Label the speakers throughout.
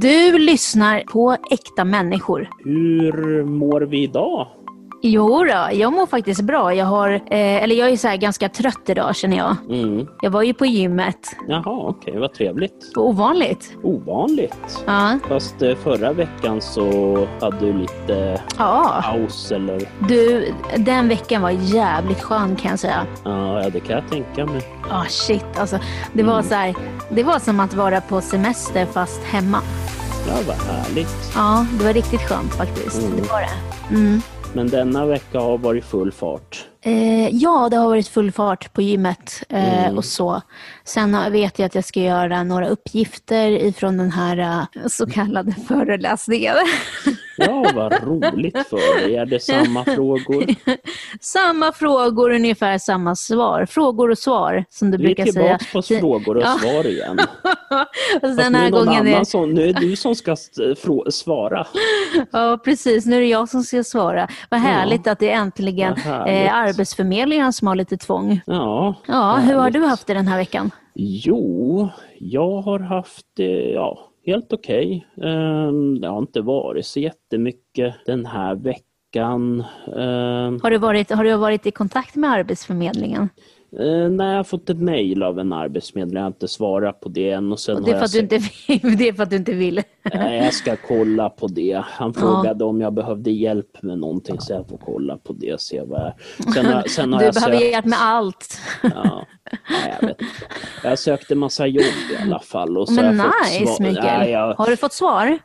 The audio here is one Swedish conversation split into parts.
Speaker 1: Du lyssnar på äkta människor.
Speaker 2: Hur mår vi idag?
Speaker 1: Jo då, jag mår faktiskt bra. Jag, har, eh, eller jag är så här ganska trött idag känner jag.
Speaker 2: Mm.
Speaker 1: Jag var ju på gymmet.
Speaker 2: Jaha, okej, vad trevligt.
Speaker 1: Ovanligt.
Speaker 2: Ovanligt.
Speaker 1: Ja.
Speaker 2: Fast eh, förra veckan så hade du lite
Speaker 1: ja.
Speaker 2: paus eller...
Speaker 1: Du, den veckan var jävligt skön kan jag säga.
Speaker 2: Ja, ja, det kan jag tänka mig.
Speaker 1: Ah shit alltså. Det var, så här, det var som att vara på semester fast hemma.
Speaker 2: Ja, vad härligt.
Speaker 1: Ja, det var riktigt skönt faktiskt.
Speaker 2: Mm.
Speaker 1: Det var det. Mm.
Speaker 2: Men denna vecka har varit full fart.
Speaker 1: Eh, ja, det har varit full fart på gymmet eh,
Speaker 2: Mm.
Speaker 1: och så. Sen har- vet jag att jag ska göra några uppgifter ifrån den här eh, så kallade föreläsningen.
Speaker 2: Ja, vad roligt för dig. Är det samma frågor?
Speaker 1: samma frågor, ungefär samma svar. Frågor och svar, som du
Speaker 2: Vi är
Speaker 1: brukar säga.
Speaker 2: tillbaka på frågor och
Speaker 1: Ja.
Speaker 2: svar igen.
Speaker 1: och
Speaker 2: Fast
Speaker 1: den
Speaker 2: nu,
Speaker 1: här
Speaker 2: är någon
Speaker 1: gången är,
Speaker 2: annan som, nu är det du som ska s- frå- svara.
Speaker 1: ja, precis, nu är det jag som ska svara. Vad härligt att det är äntligen
Speaker 2: Vad härligt.
Speaker 1: eh, Arbetsförmedlingen som har lite tvång.
Speaker 2: Ja,
Speaker 1: Ja, hur har
Speaker 2: härligt.
Speaker 1: du haft det den här veckan?
Speaker 2: Jo, jag har haft det ja, helt okej. Ehm, Det har inte varit så jättemycket den här veckan. Ehm,
Speaker 1: Har du varit, har du varit i kontakt med Arbetsförmedlingen?
Speaker 2: eh, Nej, jag har fått ett mejl av en arbetsförmedlare. Jag har inte svarat på det än. Och sen
Speaker 1: Och det, är
Speaker 2: har
Speaker 1: för
Speaker 2: jag
Speaker 1: att du inte, det är för att du inte vill.
Speaker 2: Nej, jag ska kolla på det. Han frågade om jag behövde hjälp med någonting så jag får kolla på det och se vad jag... Sen har, sen
Speaker 1: Du
Speaker 2: har jag
Speaker 1: behöver
Speaker 2: sökt-
Speaker 1: hjälp med allt.
Speaker 2: Ja, nej, jag vet inte. Jag sökte massa jobb i alla fall. Och så
Speaker 1: Men
Speaker 2: har jag fått
Speaker 1: nice,
Speaker 2: svar- Nej,
Speaker 1: Mikael.
Speaker 2: jag...
Speaker 1: Har du fått svar?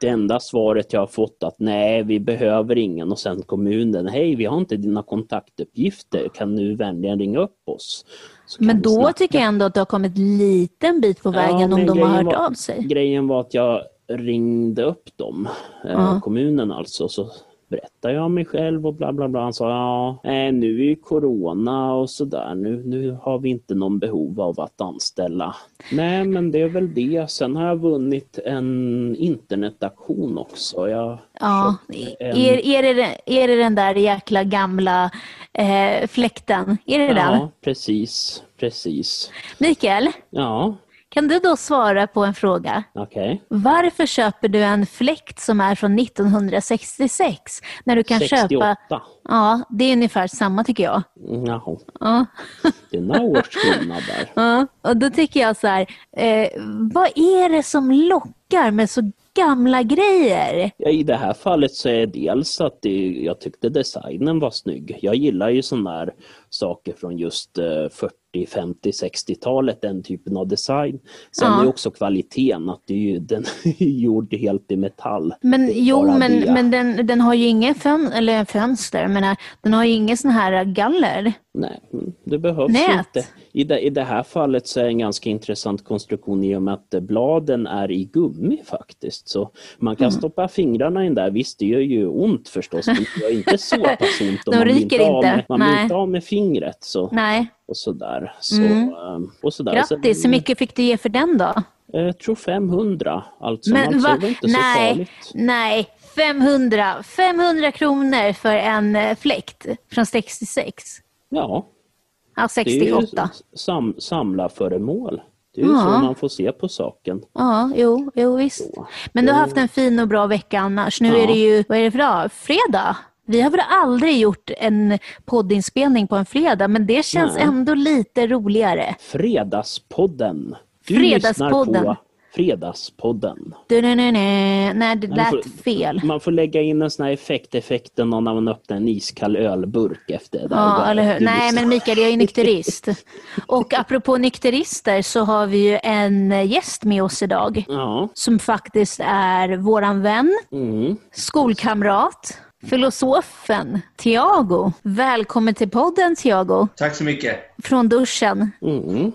Speaker 2: Det enda svaret jag har fått att nej, vi behöver ingen och sen kommunen, hej vi har inte dina kontaktuppgifter, kan du vänligen ringa upp oss? Så kan
Speaker 1: Men
Speaker 2: vi
Speaker 1: då
Speaker 2: snacka.
Speaker 1: tycker jag ändå att du har kommit en liten bit på vägen om
Speaker 2: men
Speaker 1: de har
Speaker 2: grejen
Speaker 1: hört
Speaker 2: var-
Speaker 1: av sig.
Speaker 2: Grejen var att jag ringde upp dem, eh,
Speaker 1: Ja.
Speaker 2: kommunen alltså, så berättade jag om mig själv och bla bla bla. Han sa ja, nej, nu är ju corona och sådär, nu, nu har vi inte någon behov av att anställa. Nej men det är väl det. Sen har jag vunnit en internetaktion också. Jag
Speaker 1: Ja. e-
Speaker 2: köpte en-
Speaker 1: Är, är, det, är det den där jäkla gamla eh, fläkten? Är det den?
Speaker 2: Ja, precis. Precis.
Speaker 1: Mikael,
Speaker 2: Ja,
Speaker 1: kan du då svara på en fråga?
Speaker 2: okej.
Speaker 1: Varför köper du en fläkt som är från 1966? När du kan
Speaker 2: 68.
Speaker 1: köpa... Ja, det är ungefär samma tycker jag.
Speaker 2: Jaha,
Speaker 1: Ja.
Speaker 2: det är några års skillnad där.
Speaker 1: Ja, och då tycker jag så här, eh, vad är det som lockar med så gamla grejer?
Speaker 2: Ja, I det här fallet så är dels att det, jag tyckte designen var snygg. Jag gillar ju sådana här saker från just eh, 40, 50, 60-talet, den typen av design. Sen
Speaker 1: Ja.
Speaker 2: är ju också kvaliteten, att det är ju, den är ju gjord helt i metall.
Speaker 1: Men
Speaker 2: Det är
Speaker 1: jo,
Speaker 2: bara
Speaker 1: men,
Speaker 2: det.
Speaker 1: men den, den har ju inga fön, eller fönster, jag menar, den har ju inga sån här galler.
Speaker 2: Nej, mm, det behövs
Speaker 1: Nät.
Speaker 2: inte. I det, I det här fallet så är det en ganska intressant konstruktion i och med att eh, bladen är i gummi faktiskt. Så man
Speaker 1: Mm.
Speaker 2: kan stoppa fingrarna i den där. Visst, det gör ju ont förstås, men det gör inte så pass ont. om
Speaker 1: De
Speaker 2: man blir
Speaker 1: ryker
Speaker 2: av
Speaker 1: inte.
Speaker 2: Med, man blir
Speaker 1: Nej.
Speaker 2: inte av med fingret. Så,
Speaker 1: Nej,
Speaker 2: och sådär. Så,
Speaker 1: Mm.
Speaker 2: ehm, och sådär.
Speaker 1: grattis. Hur
Speaker 2: Sen,
Speaker 1: mycket fick du ge för den då?
Speaker 2: eh, Jag tror 500 allt som
Speaker 1: Men
Speaker 2: allt. Så
Speaker 1: va?
Speaker 2: det var inte så
Speaker 1: Nej,
Speaker 2: farligt.
Speaker 1: nej, 500. 500 kronor för en eh, fläkt från 66.
Speaker 2: Ja,
Speaker 1: Ja,
Speaker 2: det är ju
Speaker 1: 68.
Speaker 2: sam, samlarföremål. Det är ju
Speaker 1: Ja.
Speaker 2: så man får se på saken.
Speaker 1: Ja, jo, jo visst.
Speaker 2: Så.
Speaker 1: Men du har haft en fin och bra vecka annars. Nu
Speaker 2: Ja.
Speaker 1: är det ju, vad är det för dag? Fredag. Vi har väl aldrig gjort en poddinspelning på en fredag, men det känns
Speaker 2: Nej.
Speaker 1: ändå lite roligare.
Speaker 2: Fredagspodden. Du
Speaker 1: Fredagspodden.
Speaker 2: lyssnar på Fredagspodden.
Speaker 1: Du, nej, nej, nej. nej, det
Speaker 2: Man får-
Speaker 1: lät fel.
Speaker 2: Man får lägga in en sån här effekt, effekten av när man öppnar en iskall ölburk efter det. där.
Speaker 1: Ja, eller hur?
Speaker 2: Du
Speaker 1: Nej,
Speaker 2: lyssnar-
Speaker 1: men Mikael, jag är nykterist. Och apropå nykterister så har vi ju en gäst med oss idag
Speaker 2: Ja,
Speaker 1: som faktiskt är våran vän,
Speaker 2: mm.
Speaker 1: skolkamrat, filosofen Tiago. Välkommen till podden, Tiago.
Speaker 3: Tack så mycket.
Speaker 1: Från duschen.
Speaker 2: Mm.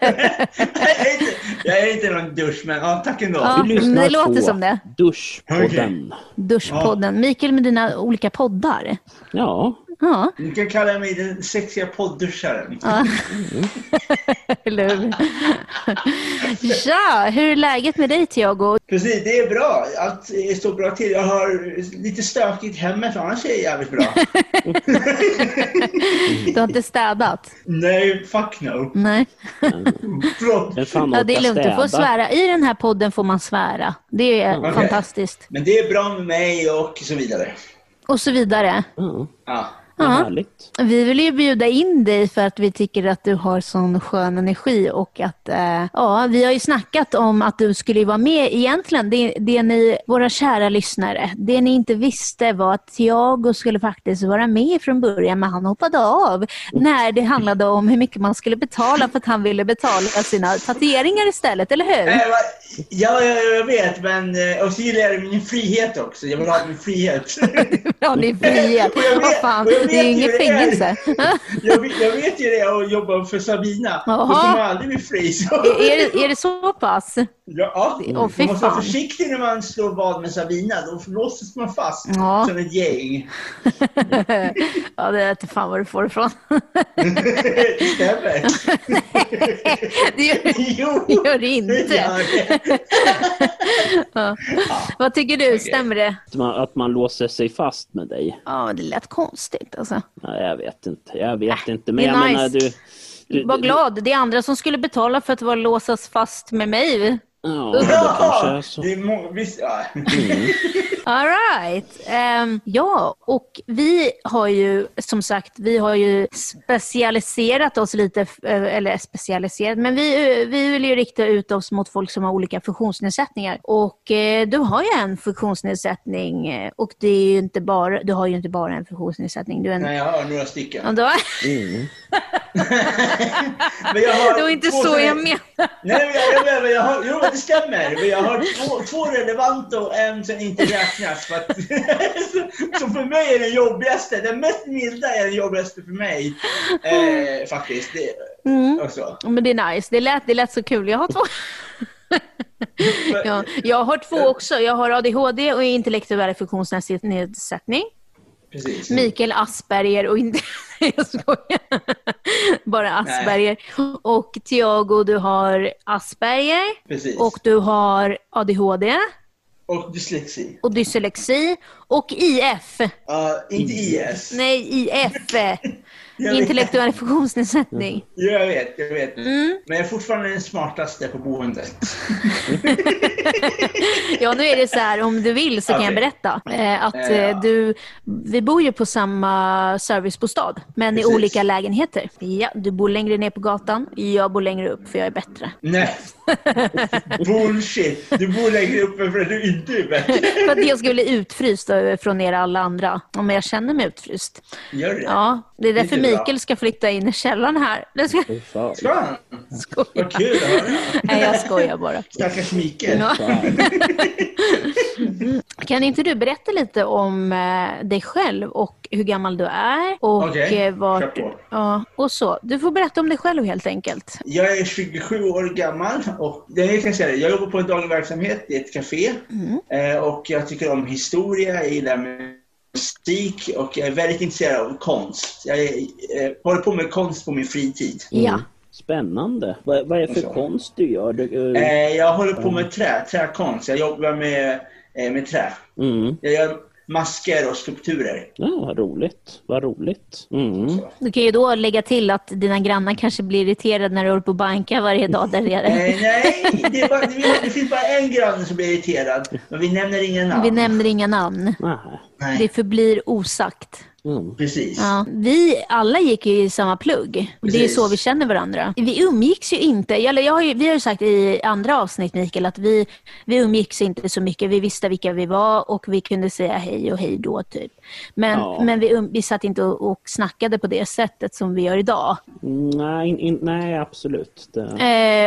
Speaker 3: Jag är inte, jag är inte någon dusch, men ja, tack ändå.
Speaker 1: Ja.
Speaker 2: Du lyssnar
Speaker 1: men det låter
Speaker 2: på
Speaker 1: som det.
Speaker 2: Duschpodden.
Speaker 3: Okej.
Speaker 1: Duschpodden. Mikael med dina olika poddar.
Speaker 2: Ja,
Speaker 1: Ja.
Speaker 3: Ni kan kalla mig den sexiga poddduscharen.
Speaker 1: ja. Eller hur? Ja, hur är läget med dig Tiago?
Speaker 3: Precis, det är bra. Allt eh, står bra till. Jag har lite stökigt hemma, annars är jag jävligt bra.
Speaker 1: Du har inte städat?
Speaker 3: Nej, fuck no.
Speaker 1: Nej.
Speaker 3: Förlåt.
Speaker 2: Vem fan
Speaker 1: Ja, det är
Speaker 2: orkar
Speaker 1: lugnt, du får
Speaker 2: städa?
Speaker 1: svära. I den här podden får man svära. Det är
Speaker 3: Okej.
Speaker 1: fantastiskt.
Speaker 3: Men det är bra med mig och så vidare.
Speaker 1: Och så vidare.
Speaker 2: Ja,
Speaker 3: Ja.
Speaker 2: vad
Speaker 1: Ja.
Speaker 2: härligt.
Speaker 1: Vi vill ju bjuda in dig för att vi tycker att du har sån skön energi och att eh, ja, vi har ju snackat om att du skulle ju vara med egentligen. Det, det ni, våra kära lyssnare, det ni inte visste var att Tiago skulle faktiskt vara med från början men han hoppade av när det handlade om hur mycket man skulle betala för att han ville betala sina tatueringar istället, eller hur?
Speaker 3: Äh, va- Ja, ja, ja, jag vet, men eh, och så gillar jag min frihet också. Jag vill ha min frihet.
Speaker 1: Ja, ni är frihet.
Speaker 3: Och jag vet-
Speaker 1: Vad fan,
Speaker 3: och jag vet
Speaker 1: det är ju
Speaker 3: ju
Speaker 1: inget
Speaker 3: hur det är.
Speaker 1: fängelse.
Speaker 3: jag, vet, jag vet ju det och jobbar för Sabina. Då
Speaker 1: Jaha.
Speaker 3: kommer jag aldrig bli fri. Så.
Speaker 1: Är, är, det- är det så pass?
Speaker 3: Ja,
Speaker 1: Åh, fy
Speaker 3: man måste vara
Speaker 1: fan.
Speaker 3: försiktig när man slår vad med Sabina. Då låses man fast
Speaker 1: Ja.
Speaker 3: som ett gäng.
Speaker 1: ja, det vet fan var du får ifrån.
Speaker 3: det stämmer.
Speaker 1: det gör,
Speaker 3: Jo,
Speaker 1: det gör det
Speaker 3: det
Speaker 1: inte.
Speaker 3: gör det.
Speaker 1: Vad tycker du, stämmer det?
Speaker 2: Att man, att man låser sig fast med dig.
Speaker 1: Ja, det lät konstigt alltså.
Speaker 2: Nej, jag vet inte. Jag vet inte.
Speaker 1: Äh, det
Speaker 2: Men
Speaker 1: är
Speaker 2: jag
Speaker 1: nice.
Speaker 2: menar du... du
Speaker 1: Var
Speaker 2: du-
Speaker 1: glad, det är andra som skulle betala för att vara låsas fast med mig.
Speaker 2: Ja, det kanske är
Speaker 3: Ja,
Speaker 2: så.
Speaker 3: det är må- visst, ja.
Speaker 1: All right. Ehm, ja, och vi har ju som sagt, vi har ju specialiserat oss lite, f- eh, eller specialiserat, men vi, eh, vi vill ju rikta ut oss mot folk som har olika funktionsnedsättningar. Och eh, du har ju en funktionsnedsättning eh, och det är ju inte bara, du har ju inte bara en funktionsnedsättning, du är en...
Speaker 3: Nej, jag har några stycken.
Speaker 1: Ja, då-
Speaker 2: Mm.
Speaker 3: Men jag har
Speaker 1: Det var inte
Speaker 3: två
Speaker 1: så
Speaker 3: som är-
Speaker 1: jag menade.
Speaker 3: Nej, men jag, jag, menar, men jag har, jo, det stämmer. Men jag har två, två relevanta och en som inte räknas. För att, som för mig är den jobbigaste. Den mest milda är den jobbigaste för mig. Eh, faktiskt. Det,
Speaker 1: Mm.
Speaker 3: också.
Speaker 1: Men det är nice. Det lät, det lät så kul. Jag har två. ja, jag har två också. Jag har ADHD och intellektuell funktionsnedsättning.
Speaker 3: Precis.
Speaker 1: Mikael Asperger och inte... Jag skojar. Bara Asperger. Och Tiago, du har Asperger
Speaker 3: Precis.
Speaker 1: och
Speaker 3: Och,
Speaker 1: du har ADHD
Speaker 3: dyslexi.
Speaker 1: och dyslexi och IF.
Speaker 3: Ja, inte IS.
Speaker 1: Mm. Nej, IF.
Speaker 3: Jag vet.
Speaker 1: Intellektuell funktionsnedsättning.
Speaker 3: Jo, jag vet, jag vet.
Speaker 1: Mm.
Speaker 3: Men jag är fortfarande den smartaste på boendet.
Speaker 1: Ja, nu är det så här, om du vill så kan jag
Speaker 3: Okej.
Speaker 1: berätta. Eh, att
Speaker 3: Eh, ja.
Speaker 1: eh, du, vi bor ju på samma servicebostad, men i
Speaker 3: Precis.
Speaker 1: olika lägenheter. Ja, du bor längre ner på gatan, jag bor längre upp för jag är bättre.
Speaker 3: Nej. Bullshit. Du bor längre uppe för att du inte är bättre.
Speaker 1: För att jag skulle bli utfryst eh, från er alla andra. Ja, Men jag känner mig utfryst.
Speaker 3: Gör det?
Speaker 1: Ja, det är därför
Speaker 3: Inte bra.
Speaker 1: Mikael ska flytta in i källaren här. Jag ska,
Speaker 2: Fy fan.
Speaker 3: Ska han? Vad
Speaker 1: skoja.
Speaker 3: kul att höra.
Speaker 1: Nej, jag skojar bara.
Speaker 3: Stackars Mikael.
Speaker 1: Ja.
Speaker 2: Fan.
Speaker 1: Kan inte du berätta lite om eh, dig själv och hur gammal du är och
Speaker 3: Okej,
Speaker 1: eh,
Speaker 3: kör
Speaker 1: vart
Speaker 3: på.
Speaker 1: du... Ja, och så. Du får berätta om dig själv helt enkelt.
Speaker 3: Jag är 27 år gammal och det jag kan säga det, jag jobbar på en daglig verksamhet i ett café
Speaker 1: Mm.
Speaker 3: Eh, och jag tycker om historia, jag gillar musik och jag är väldigt intresserad av konst. Jag är, eh, håller på med konst på min fritid.
Speaker 1: Ja.
Speaker 2: Mm. Spännande. Vad, vad är det för
Speaker 3: Så.
Speaker 2: konst du gör? Du,
Speaker 1: Mm.
Speaker 2: eh,
Speaker 3: Eh, jag håller på med trä, träkonst. Jag jobbar med, eh, med trä.
Speaker 2: mm.
Speaker 3: Jag gör masker och skulpturer.
Speaker 2: Ja, vad roligt. Vad roligt. Mm.
Speaker 3: Alltså.
Speaker 1: Du kan ju då lägga till att dina grannar kanske blir irriterade när du håller på och bankar varje dag där nere.
Speaker 3: Eh, nej, det, är bara, det, är- det finns bara en granne som blir irriterad, men vi nämner inga namn.
Speaker 1: Vi nämner inga namn.
Speaker 2: Nej.
Speaker 1: Det
Speaker 3: nej,
Speaker 1: förblir osagt.
Speaker 2: Mm.
Speaker 3: precis.
Speaker 1: Ja. Vi alla gick ju i samma plugg. Det är
Speaker 3: Precis.
Speaker 1: så vi känner varandra. Vi umgicks ju inte. Eller jag har ju, vi har ju sagt i andra avsnitt, Mikael, att vi, vi umgicks inte så mycket. Vi visste vilka vi var och vi kunde säga hej och hej då, typ. Men,
Speaker 2: Ja.
Speaker 1: men vi, um, vi satt inte och, och snackade på det sättet som vi gör idag.
Speaker 2: Nej, in, in, nej, absolut. Det,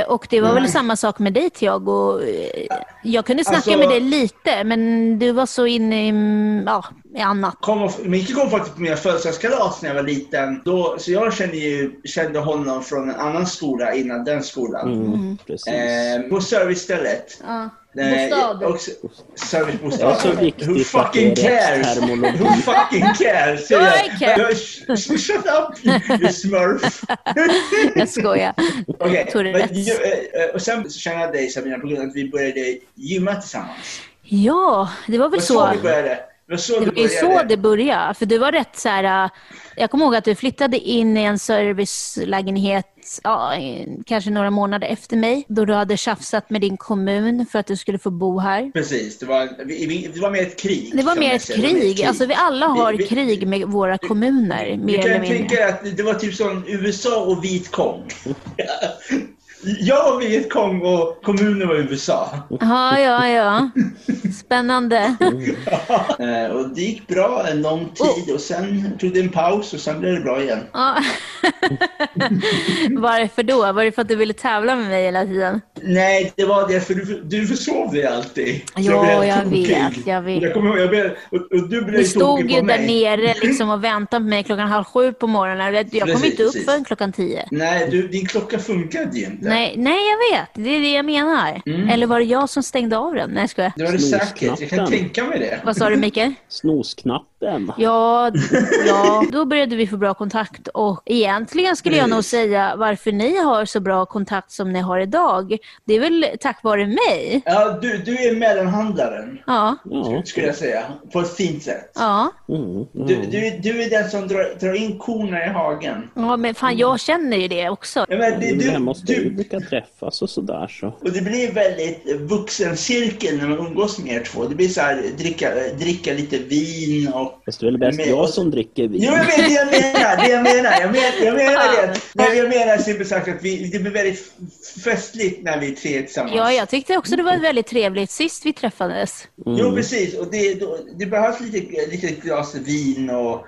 Speaker 1: Eh, och det var väl samma sak med dig, Tiago. Eh, Jag kunde snacka
Speaker 3: Alltså-
Speaker 1: med dig lite, men du var så inne i... mm, Ja, i annat.
Speaker 3: Kom och, Micke kom faktiskt på mina födelsedagskalas när jag var liten. Då, så jag kände, ju, kände honom från en annan skola innan den skolan.
Speaker 2: Mm, Precis.
Speaker 3: Eh, på servicestället.
Speaker 1: Ja.
Speaker 3: Eh,
Speaker 1: Bostad.
Speaker 3: och s- Servicebostad.
Speaker 2: det är så viktigt
Speaker 3: Who
Speaker 2: att det är
Speaker 3: fucking
Speaker 2: rätt
Speaker 3: cares?
Speaker 2: terminologi.
Speaker 3: Who fucking cares?
Speaker 1: I
Speaker 3: Seriöst.
Speaker 1: care.
Speaker 3: Shut up you smurf.
Speaker 1: Jag skojar.
Speaker 3: Okej, men
Speaker 1: Tourettes.
Speaker 3: ju- eh, eh, och sen så känner jag dig Sabina på grund av att vi började gymma tillsammans.
Speaker 1: Ja, det var
Speaker 3: Det
Speaker 1: väl
Speaker 3: var så
Speaker 1: så.
Speaker 3: vi började. Det var så
Speaker 1: Det
Speaker 3: vi
Speaker 1: var ju
Speaker 3: började.
Speaker 1: så det började. För du var rätt så här... äh, Jag kommer ihåg att du flyttade in i en servicelägenhet ja, i- kanske några månader efter mig. Då du hade tjafsat med din kommun för att du skulle få bo här.
Speaker 3: Precis, det var, vi, vi, det var mer ett krig.
Speaker 1: Det var
Speaker 3: kan
Speaker 1: mer
Speaker 3: man
Speaker 1: ett
Speaker 3: säga. Det var mer
Speaker 1: krig. Alltså, vi alla har
Speaker 3: Vi- vi-
Speaker 1: krig med våra kommuner,
Speaker 3: Du
Speaker 1: mer
Speaker 3: kan
Speaker 1: eller
Speaker 3: ju
Speaker 1: mindre.
Speaker 3: tänka att det var typ som USA och Vietcong. jag var Vietcong och kommunen var USA.
Speaker 1: Ja, ja, ja. Spännande.
Speaker 3: Eh, och det gick bra en lång
Speaker 1: Oh.
Speaker 3: tid och sen tog det en paus och sen blev det bra igen.
Speaker 1: Ja. Varför då? Var det för att du ville tävla med mig hela tiden?
Speaker 3: Nej, det var det för du, du försov dig alltid. Så
Speaker 1: Ja,
Speaker 3: blev
Speaker 1: jag
Speaker 3: tokig.
Speaker 1: vet, jag vet.
Speaker 3: Jag kommer ihåg, jag blev, och, och du blev
Speaker 1: Vi stod
Speaker 3: tokig
Speaker 1: ju
Speaker 3: på mig.
Speaker 1: där nere liksom och väntade på mig klockan halv sju på morgonen. Jag kom
Speaker 3: Precis,
Speaker 1: inte upp
Speaker 3: precis.
Speaker 1: förrän klockan tio.
Speaker 3: Nej, du, din klocka funkade ju inte.
Speaker 1: Nej, nej, jag vet. Det är det jag menar.
Speaker 3: Mm.
Speaker 1: Eller var det jag som stängde av den? Nej, jag skojar.
Speaker 3: Det var det säkert. Jag kan
Speaker 2: Snosknappen.
Speaker 3: tänka mig det.
Speaker 1: Vad sa du, Mikael?
Speaker 2: Snosknappen.
Speaker 1: Ja, d- ja, då började vi få bra kontakt och egentligen skulle jag nog säga varför ni har så bra kontakt som ni har idag. Det är väl tack vare mig?
Speaker 3: Ja, du, du är mellanhandlaren,
Speaker 1: Ja,
Speaker 2: Ja.
Speaker 3: skulle jag säga. På ett fint sätt.
Speaker 1: ja.
Speaker 2: Mm, ja.
Speaker 3: Du, du, du är den som drar, drar in korna i hagen.
Speaker 1: Ja, men fan jag känner ju det också.
Speaker 3: Ja, men
Speaker 2: Det
Speaker 3: det,
Speaker 2: är väl
Speaker 3: du,
Speaker 2: hemma hos dig vi
Speaker 3: du,
Speaker 2: brukar träffas och sådär så.
Speaker 3: och det blir en väldigt vuxen cirkel när man umgås med er två. Det blir så här, dricka, dricka lite vin och
Speaker 2: Fast det är väl bäst
Speaker 3: Men-
Speaker 2: jag som dricker vin.
Speaker 3: Jo, jag vet det jag menar. Det jag menar. Jag menar, jag menar
Speaker 1: Fan.
Speaker 3: det. Nej, jag menar simpelt sagt att vi, det blir väldigt f- festligt när vi är tre tillsammans.
Speaker 1: Ja, jag tyckte också det var väldigt trevligt sist vi träffades.
Speaker 3: Jo, precis. Och det, då, det behövs lite, lite glas vin och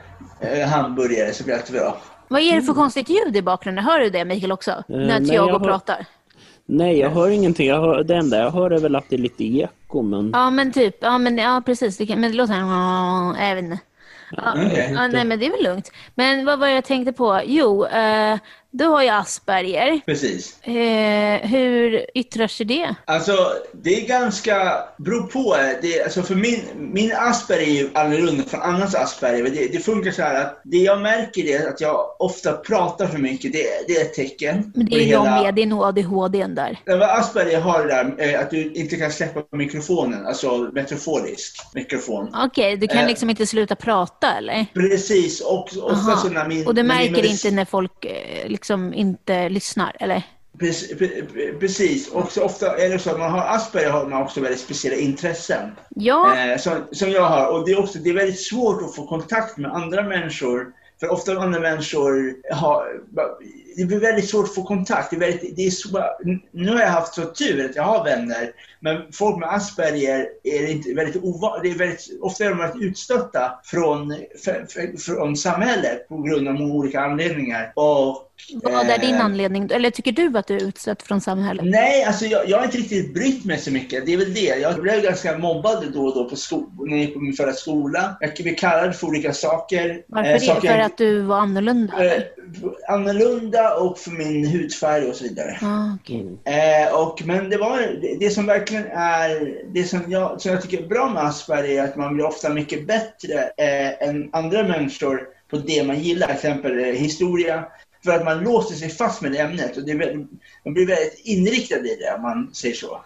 Speaker 3: eh, hamburgare så blir allt bra.
Speaker 1: Vad är det för konstigt ljud i bakgrunden? Hör du det Mikael också? När
Speaker 2: nej,
Speaker 1: Tiago
Speaker 2: jag hör-
Speaker 1: pratar?
Speaker 2: Nej, jag hör ingenting. Jag hör, det enda jag hör är väl att det är lite eko, men...
Speaker 1: Ja, men typ. Ja, men, ja precis. Det, kan, men det låter... här- Jag vet inte. Ja,
Speaker 3: Okej.
Speaker 1: ja, nej, men det är väl lugnt. Men vad var det jag tänkte på? Jo, eh, du har ju Asperger.
Speaker 3: Precis.
Speaker 1: Eh, hur yttrar sig det?
Speaker 3: Alltså, det är ganska... beror på. Det, är- alltså för min, min Asperger är ju annorlunda från annans Asperger. Men Det, det funkar så här att det jag märker är att jag ofta pratar för mycket. Det, det är ett tecken.
Speaker 1: Men det
Speaker 3: på
Speaker 1: är ju jag
Speaker 3: hela-
Speaker 1: med. Det är nog ADHD n där.
Speaker 3: Nej, vad Asperger har det där eh, att du inte kan släppa mikrofonen, alltså metroforisk mikrofon.
Speaker 1: Okej, du kan
Speaker 3: Eh.
Speaker 1: liksom inte sluta prata eller?
Speaker 3: Precis, och ofta
Speaker 1: Aha.
Speaker 3: så när min...
Speaker 1: och det
Speaker 3: när min
Speaker 1: märker
Speaker 3: medic-
Speaker 1: inte när folk eh, liksom inte lyssnar eller?
Speaker 3: Prec- pre- pre- Precis, och så ofta är det så att man har Asperger har man också väldigt speciella intressen.
Speaker 1: Ja,
Speaker 3: Eh, som, som jag har, och det är också det är väldigt svårt att få kontakt med andra människor. För ofta andra människor har... Det blir väldigt svårt att få kontakt. Det är väldigt, det är så, nu har jag haft så tur att jag har vänner. Men folk med Asperger är det inte väldigt ovanligt. Väldigt, ofta är de väldigt utstötta från, för, för, från samhället på grund av många olika anledningar. Och,
Speaker 1: vad är din
Speaker 3: eh,
Speaker 1: anledning? Eller tycker du att du är utsatt från samhället?
Speaker 3: Nej, alltså jag, jag har inte riktigt brytt mig så mycket. Det är väl det. Jag blev ganska mobbad då och då på skolan, när jag gick på min förra skola. Jag blev kallad för olika saker.
Speaker 1: Varför
Speaker 3: Eh,
Speaker 1: det?
Speaker 3: saker
Speaker 1: För att du var annorlunda?
Speaker 3: eh, annorlunda och för min hudfärg och så vidare.
Speaker 1: Ah, okej.
Speaker 3: Eh, och, men det, var, det, det som verkligen är, det som jag, som jag tycker är bra med Asperger är att man blir ofta mycket bättre eh, än andra människor på det man gillar, till exempel eh, historia. För att man låser sig fast med det ämnet och det, är väl- man blir väldigt inriktad i det om man säger så.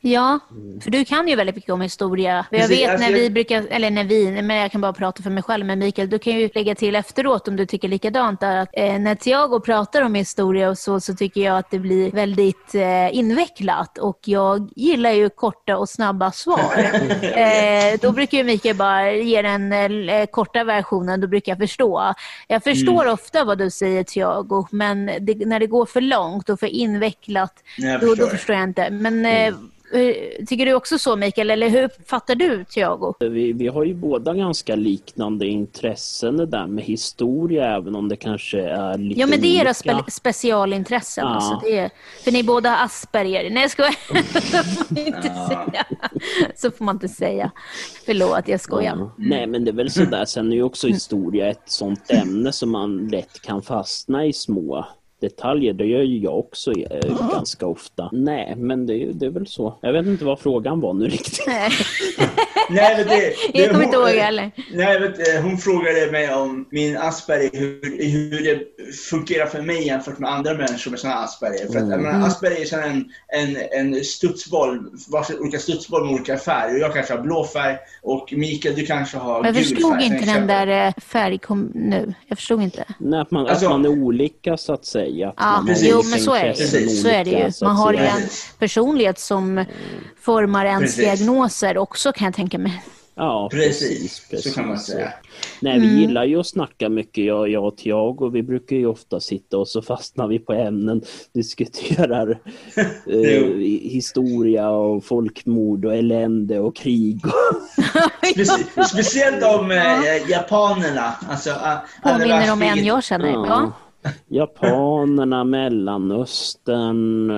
Speaker 1: Ja, för du kan ju väldigt mycket om historia. Jag
Speaker 3: Mm. Precis,
Speaker 1: vet
Speaker 3: alltså
Speaker 1: när
Speaker 3: jag-
Speaker 1: vi brukar, eller när vi, men jag kan bara prata för mig själv, men Mikael, du kan ju lägga till efteråt om du tycker likadant. Där, att, eh, när Tiago pratar om historia och så, så tycker jag att det blir väldigt eh, invecklat och jag gillar ju korta och snabba svar. eh, då brukar ju Mikael bara ge den eh, korta versionen, då brukar jag förstå. Jag förstår
Speaker 3: Mm.
Speaker 1: ofta vad du säger Tiago, men det, när det går för långt och för invecklat,
Speaker 3: Nej, jag
Speaker 1: då, då
Speaker 3: förstår. Mm.
Speaker 1: förstår jag inte. Men eh, Hur- Tycker du också så Mikael, eller hur uppfattar du Thiago?
Speaker 2: Vi, vi har ju båda ganska liknande intressen det där med historia även om det kanske är lite
Speaker 1: Ja men det är era
Speaker 2: olika.
Speaker 1: spe- specialintressen.
Speaker 2: Ja.
Speaker 1: Alltså, det är, för ni båda har Asperger. Nej jag skojar.
Speaker 3: Mm.
Speaker 1: Så får man inte säga. Så får man inte säga. Förlåt, jag skojar.
Speaker 2: Ja. Nej men det är väl sådär, sen är ju också historia ett sånt ämne som man lätt kan fastna i små detaljer. Det gör ju jag också eh, ganska ofta. Nej men det är, ju- det är väl så. Jag vet inte vad frågan var nu riktigt.
Speaker 1: Nej,
Speaker 3: Nej, men det,
Speaker 1: jag kommer inte
Speaker 3: hon-
Speaker 1: ihåg heller.
Speaker 3: Nej, vet, du, hon frågade mig om min Asperger, hur, hur det fungerar för mig jämfört med andra människor med sådana Asperger. För att, jag menar, Asperger är som en, en, en studsboll, varsin olika studsboll med olika färg. Och jag kanske har blå färg och Mikael, du kanske har
Speaker 1: Jag
Speaker 3: gul
Speaker 1: förstod
Speaker 3: färg.
Speaker 1: inte
Speaker 3: Sen
Speaker 1: den
Speaker 3: kanske-
Speaker 1: där eh, färg kom nu. Jag förstod inte.
Speaker 2: Nej, att, man,
Speaker 3: Alltså-
Speaker 2: att man är olika så att säga. Att
Speaker 1: Ja,
Speaker 2: man har
Speaker 3: precis.
Speaker 1: jo
Speaker 2: olika
Speaker 1: men så är det ju.
Speaker 2: intressen,
Speaker 1: Så är det ju.
Speaker 2: olika, så att
Speaker 1: Man har ju
Speaker 2: säga.
Speaker 1: en personlighet som formar ens
Speaker 3: Precis.
Speaker 1: diagnoser också kan jag tänka mig.
Speaker 2: Ja,
Speaker 3: Precis, så kan man säga.
Speaker 2: Nej,
Speaker 3: Mm.
Speaker 2: vi gillar ju att snacka mycket, jag, jag och Tiago. Vi brukar ju ofta sitta och så fastnar vi på ämnen, diskuterar eh,
Speaker 3: Jo.
Speaker 2: historia och folkmord och elände och krig.
Speaker 3: Specie- speciellt om eh, japanerna. Alltså, a- andra
Speaker 1: Påminner om en
Speaker 3: världskriget.
Speaker 1: jag känner. Ja.
Speaker 2: Japanerna, Mellanöstern, eh,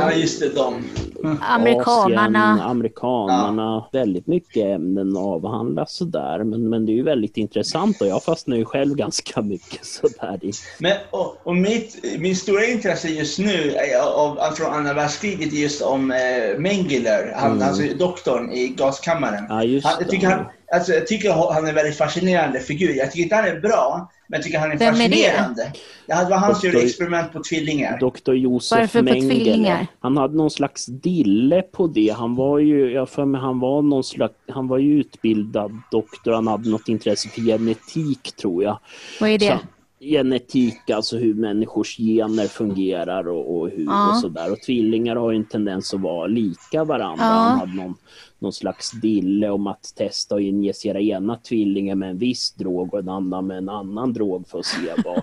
Speaker 3: Ja, just det, de.
Speaker 2: Asien,
Speaker 1: Amerikanarna.
Speaker 2: amerikanerna. Väldigt mycket ämnen avhandlas sådär. Men, men det är ju väldigt intressant och jag fastnar ju själv ganska mycket sådär i
Speaker 3: Men, och, och mitt, min stora intresse just nu är av, av, från andra världskriget är just om eh, Mengele, han, alltså doktorn i gaskammaren.
Speaker 2: Mm. Ja, just
Speaker 3: han, jag,
Speaker 2: det.
Speaker 3: tycker han, alltså, jag tycker han är en väldigt fascinerande figur. Jag tycker inte han är bra, men jag tycker han är
Speaker 1: Vem är det?
Speaker 3: fascinerande. det? Det var han som gjorde
Speaker 2: Doktor-
Speaker 3: experiment på tvillingar.
Speaker 2: Dr. Josef
Speaker 1: Varför på
Speaker 2: Mengele.
Speaker 1: tvillingar?
Speaker 2: Han hade någon slags dille på det. Han var ju, jag har för mig, han var någon slags, han var ju utbildad doktor. Han hade något intresse för genetik tror jag.
Speaker 1: Vad är det?
Speaker 2: Så, genetik, alltså hur människors gener fungerar och, och hur
Speaker 1: Ja.
Speaker 2: och sådär. Och tvillingar har ju en tendens att vara lika varandra.
Speaker 1: Ja.
Speaker 2: Han hade någon, någon slags dille om att testa och injicera ena tvillingen med en viss drog och en annan med en annan drog för att se vad,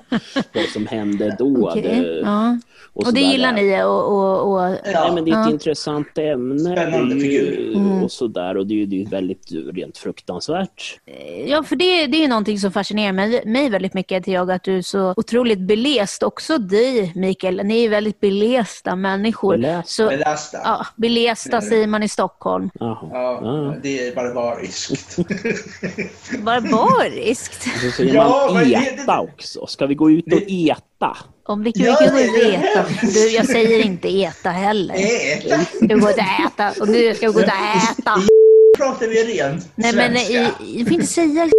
Speaker 2: vad som hände då.
Speaker 1: Okej,
Speaker 2: Det-
Speaker 1: ja. Och, det
Speaker 2: eh, sådär
Speaker 1: gillar
Speaker 2: där.
Speaker 1: ni och, och, och
Speaker 3: Ja.
Speaker 2: Nej, men det är ett
Speaker 1: Ja. Mm.
Speaker 2: intressant ämne.
Speaker 3: Spännande
Speaker 2: det är ju-
Speaker 3: figur.
Speaker 2: Och sådär. Och det är ju det är ju väldigt rent fruktansvärt.
Speaker 1: Ja, för det, det är ju någonting som fascinerar mig, mig väldigt mycket, jag att du är så otroligt belest. Också dig, Mikael. Ni är väldigt belesta människor.
Speaker 2: Belästa?
Speaker 1: Så,
Speaker 3: Belasta. Ja.
Speaker 1: ja, belesta säger man i Stockholm.
Speaker 2: Jaha. Ja.
Speaker 3: det är barbariskt.
Speaker 1: Barbariskt.
Speaker 2: Och så säger
Speaker 3: Ja,
Speaker 2: man
Speaker 3: men det-
Speaker 2: eta också. Ska vi gå ut och eta?
Speaker 1: Om vilken
Speaker 3: Ja,
Speaker 1: vi kan gå
Speaker 3: det är
Speaker 1: ut och äta. Du, jag säger inte äta heller.
Speaker 3: Äta!
Speaker 1: Du går ut och äta. Och du ska gå ut och äta.
Speaker 3: pratar vi rent
Speaker 1: Nej, men
Speaker 3: svenska.
Speaker 1: i, i- du får inte säga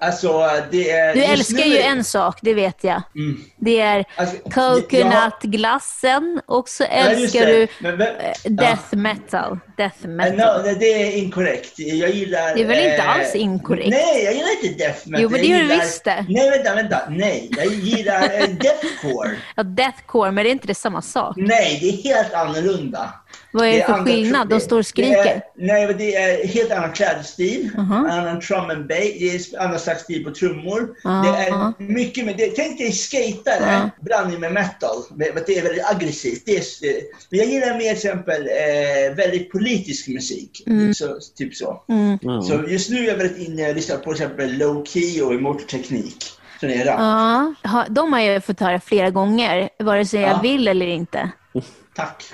Speaker 3: Alltså, det är...
Speaker 1: Du
Speaker 3: just
Speaker 1: älskar
Speaker 3: nu-
Speaker 1: ju en sak, det vet jag.
Speaker 3: Mm.
Speaker 1: Det är
Speaker 3: Alltså,
Speaker 1: coconutglassen och så
Speaker 3: Ja, just
Speaker 1: älskar
Speaker 3: det.
Speaker 1: du
Speaker 3: Men vem-
Speaker 1: Eh,
Speaker 3: Ja.
Speaker 1: Death metal. Death
Speaker 3: Eh,
Speaker 1: metal.
Speaker 3: No, nej, det är inkorrekt. Jag gillar... eh,
Speaker 1: Det är väl inte alls inkorrekt?
Speaker 3: Nej, jag gillar inte death metal.
Speaker 1: Jo, men
Speaker 3: Jag
Speaker 1: det gör du
Speaker 3: gillar-
Speaker 1: visst det.
Speaker 3: Nej, vänta, vänta. Nej, jag gillar eh, deathcore.
Speaker 1: Ja, deathcore, men det är inte det samma sak.
Speaker 3: Nej, det är helt annorlunda.
Speaker 1: Vad är det för
Speaker 3: andra
Speaker 1: skillnad? De
Speaker 3: problem.
Speaker 1: står och
Speaker 3: Det
Speaker 1: skriker.
Speaker 3: är, nej, men det är helt annan klädstil,
Speaker 1: Mhm.
Speaker 3: annan drum and bass, det är annan slags stil på trummor.
Speaker 1: Ja,
Speaker 3: Det är
Speaker 1: ja.
Speaker 3: mycket med det. Tänk dig skatare
Speaker 1: Ja.
Speaker 3: blandning med metal. Men men det är väldigt aggressivt. Det är, det, men jag gillar mer till exempel eh, väldigt politisk musik. Så, typ så.
Speaker 1: Mm.
Speaker 2: Ja.
Speaker 3: Så just nu är jag väldigt inne och lyssnar på till exempel Low Key och Immortal Teknik. Så det är rap.
Speaker 1: Ja, ha- de har jag ju fått höra flera gånger, vare sig
Speaker 3: Ja.
Speaker 1: jag vill eller inte.
Speaker 3: Tack.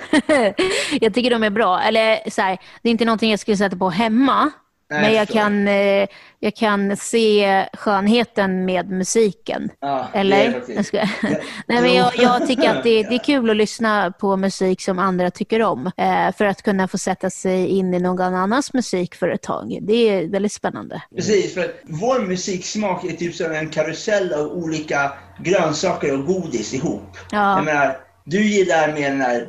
Speaker 1: jag tycker de är bra. Eller så här, det är inte någonting jag skulle sätta på hemma,
Speaker 3: Nej,
Speaker 1: men
Speaker 3: jag
Speaker 1: jag
Speaker 3: förstår.
Speaker 1: kan, eh, jag kan se skönheten med musiken.
Speaker 3: Ja, det är
Speaker 1: Eller?
Speaker 3: faktiskt-
Speaker 1: Jag skojar.
Speaker 3: Ja.
Speaker 1: Nej, men jag, jag tycker att det,
Speaker 3: Ja.
Speaker 1: det är kul att lyssna på musik som andra tycker om eh, för att kunna få sätta sig in i någon annans musik för ett tag. Det är väldigt spännande.
Speaker 3: Precis, för att vår musiksmak är typ som en karusell av olika grönsaker och godis ihop.
Speaker 1: Ja.
Speaker 3: Jag menar, du gillar med den där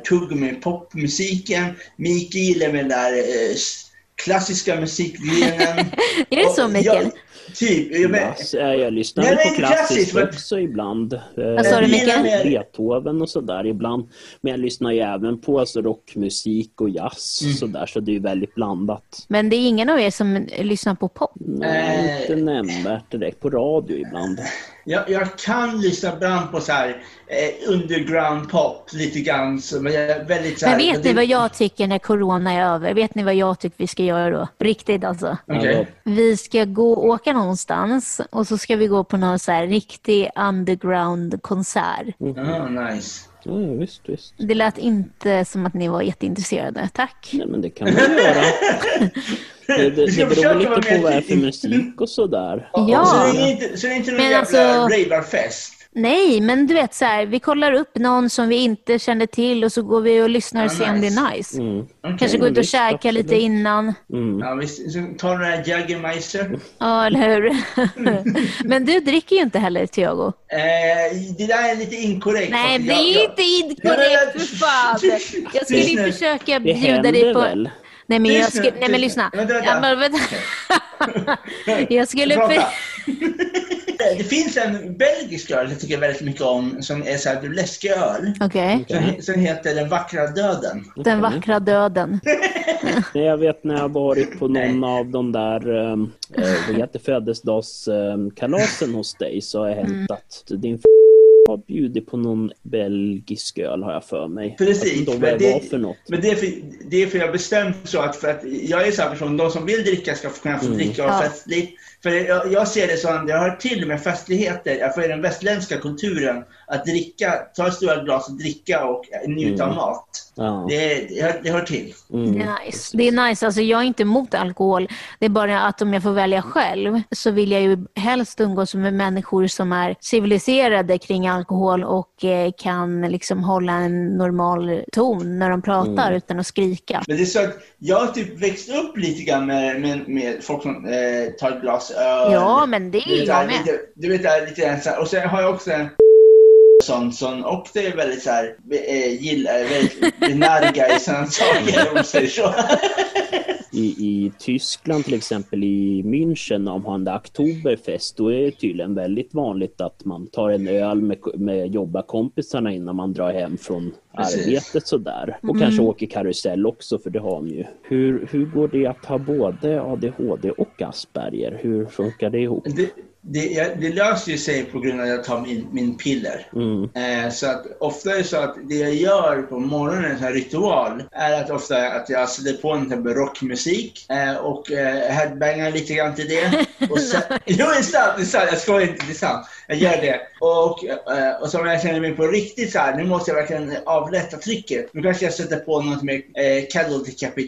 Speaker 3: tuggummi-popmusiken, Miki gillar med den där eh, s- klassiska musikgrenen.
Speaker 1: Är det så, Mikael?
Speaker 3: Jag, typ. Jag men,
Speaker 2: Klass, eh, jag lyssnar
Speaker 3: Nej, men
Speaker 2: på klassiskt
Speaker 3: klassiskt, men-
Speaker 2: också ibland. Eh,
Speaker 1: sa du,
Speaker 2: Be-
Speaker 1: Mikael?
Speaker 2: Beethoven och sådär ibland. Men jag lyssnar ju även på alltså, rockmusik och jazz
Speaker 3: Mm.
Speaker 2: och sådär. Så det är ju väldigt blandat.
Speaker 1: Men det är ingen av er som lyssnar på pop.
Speaker 2: Men
Speaker 3: Eh.
Speaker 2: Inte nämnvärt direkt. På radio ibland.
Speaker 3: Jag, jag kan lyssna ibland på så här eh, underground pop lite grann. Så, men jag är väldigt så här,
Speaker 1: Men vet ni
Speaker 3: det-
Speaker 1: vad jag tycker när corona är över? Vet ni vad jag tycker vi ska göra då? Riktigt alltså.
Speaker 3: Okej.
Speaker 2: Alltså,
Speaker 1: Vi ska gå åka någonstans och så ska vi gå på någon så här riktig underground-konsert.
Speaker 3: Ah, nice.
Speaker 2: ja, ja, visst, visst.
Speaker 1: Det lät inte som att ni var jätteintresserade. Tack.
Speaker 2: Nej, men det kan man göra. Det, det,
Speaker 3: Vi ska
Speaker 2: det beror
Speaker 3: försöka
Speaker 2: väl lite
Speaker 3: vara med
Speaker 2: på vad det är för
Speaker 3: i-
Speaker 2: musik och sådär.
Speaker 1: Ja.
Speaker 3: Så det är inte, så det är inte någon
Speaker 1: Men
Speaker 3: jävla
Speaker 1: alltså-
Speaker 3: ravarfest?
Speaker 1: Nej, men du vet så här, vi kollar upp någon som vi inte kände till och så går vi och lyssnar och
Speaker 3: Ja,
Speaker 1: ser om det
Speaker 3: nice.
Speaker 1: är nice.
Speaker 2: Mm.
Speaker 3: Okej.
Speaker 1: Kanske gå ut och
Speaker 2: visst,
Speaker 1: käka
Speaker 2: absolut.
Speaker 1: lite innan.
Speaker 2: Mm.
Speaker 3: Ja, visst. Så Ta den här Jägermeister.
Speaker 1: Ja, eller hur? men du dricker ju inte heller, Tiago.
Speaker 3: Eh, det där är lite inkorrekt.
Speaker 1: Nej,
Speaker 3: Jag-
Speaker 1: det är
Speaker 3: jag-
Speaker 1: inte inkorrekt för fan. Jag skulle
Speaker 3: Lyssna.
Speaker 1: ju försöka
Speaker 2: Det
Speaker 1: bjuda dig
Speaker 2: händer
Speaker 1: på...
Speaker 2: väl?
Speaker 1: Nej men, jag
Speaker 3: Lyssna,
Speaker 1: skulle... Nej, men lyssna.
Speaker 3: lyssna. Vänta, vänta.
Speaker 1: Jag, bara, vänta. jag skulle...
Speaker 3: Prata.
Speaker 1: För...
Speaker 3: Det finns en belgisk öl jag tycker väldigt mycket om som är så här läskig öl.
Speaker 1: Okej.
Speaker 3: Som, he- som heter Den vackra döden.
Speaker 1: Den vackra
Speaker 3: Mm.
Speaker 1: döden.
Speaker 2: Nej, Jag vet när jag har varit på någon
Speaker 3: Nej.
Speaker 2: av de där ehm, eh, vad heter födelsedagskalasen hos dig så har det
Speaker 1: Mm.
Speaker 2: hänt att din f- har bjudit på någon belgisk öl har jag för mig.
Speaker 3: Precis,
Speaker 2: Jag vet inte
Speaker 3: men
Speaker 2: vad det
Speaker 3: det-
Speaker 2: var för något.
Speaker 3: Men det är, för, det är för jag bestämt så att, för att jag är så här person, de som vill dricka ska få kunna få dricka och
Speaker 1: Ja.
Speaker 3: festligt. För jag, jag ser det som, det hör till med festligheter, ja, för i den västländska kulturen, att dricka, ta stora glas och dricka och eh, njuta av mat.
Speaker 2: Ja. mm.
Speaker 3: Det, är- det, hör, det hör till.
Speaker 1: Det är nice. Det är nice. Alltså, jag är inte emot alkohol. Det är bara att om jag får välja själv så vill jag ju helst umgås med människor som är civiliserade kring alkohol och eh, kan liksom hålla en normal ton när de pratar
Speaker 2: Mm.
Speaker 1: utan att skrika.
Speaker 3: Men det är så att jag typ växte upp lite grann med, med, med folk som eh, tar ett glas öl.
Speaker 1: Ja, men det
Speaker 3: Du
Speaker 1: är
Speaker 3: vet, där,
Speaker 1: jag med.
Speaker 3: lite, du vet, där, lite grann så här, och sen har jag också en sån som också är väldigt så här, eh, gillar, väldigt benarga i sådana saker om man säger så.
Speaker 2: I, I Tyskland till exempel, i München, om han där Oktoberfest, då är det tydligen väldigt vanligt att man tar en öl med, med jobbarkompisarna innan man drar hem från
Speaker 3: Precis.
Speaker 2: arbetet sådär.
Speaker 1: Mm.
Speaker 2: Och kanske åker karusell också, för det har de ju. Hur, hur går det att ha både ADHD och Asperger? Hur funkar det ihop?
Speaker 3: Det, det, jag, det löser ju sig på grund av att jag tar min, min piller.
Speaker 2: Mm.
Speaker 3: Eh, så att ofta är det så att det jag gör på morgonen, en sån här ritual, är att ofta att jag sätter på en typ av rockmusik eh, och eh, headbangar lite grann till det. Och sen, jo, det är sant, det är sant, jag skojar inte, det är sant. Jag gör det. Och, eh, och så om jag känner mig på riktigt så här, nu måste jag verkligen avlätta trycket. Nu kanske jag sätter på något med eh, Cattle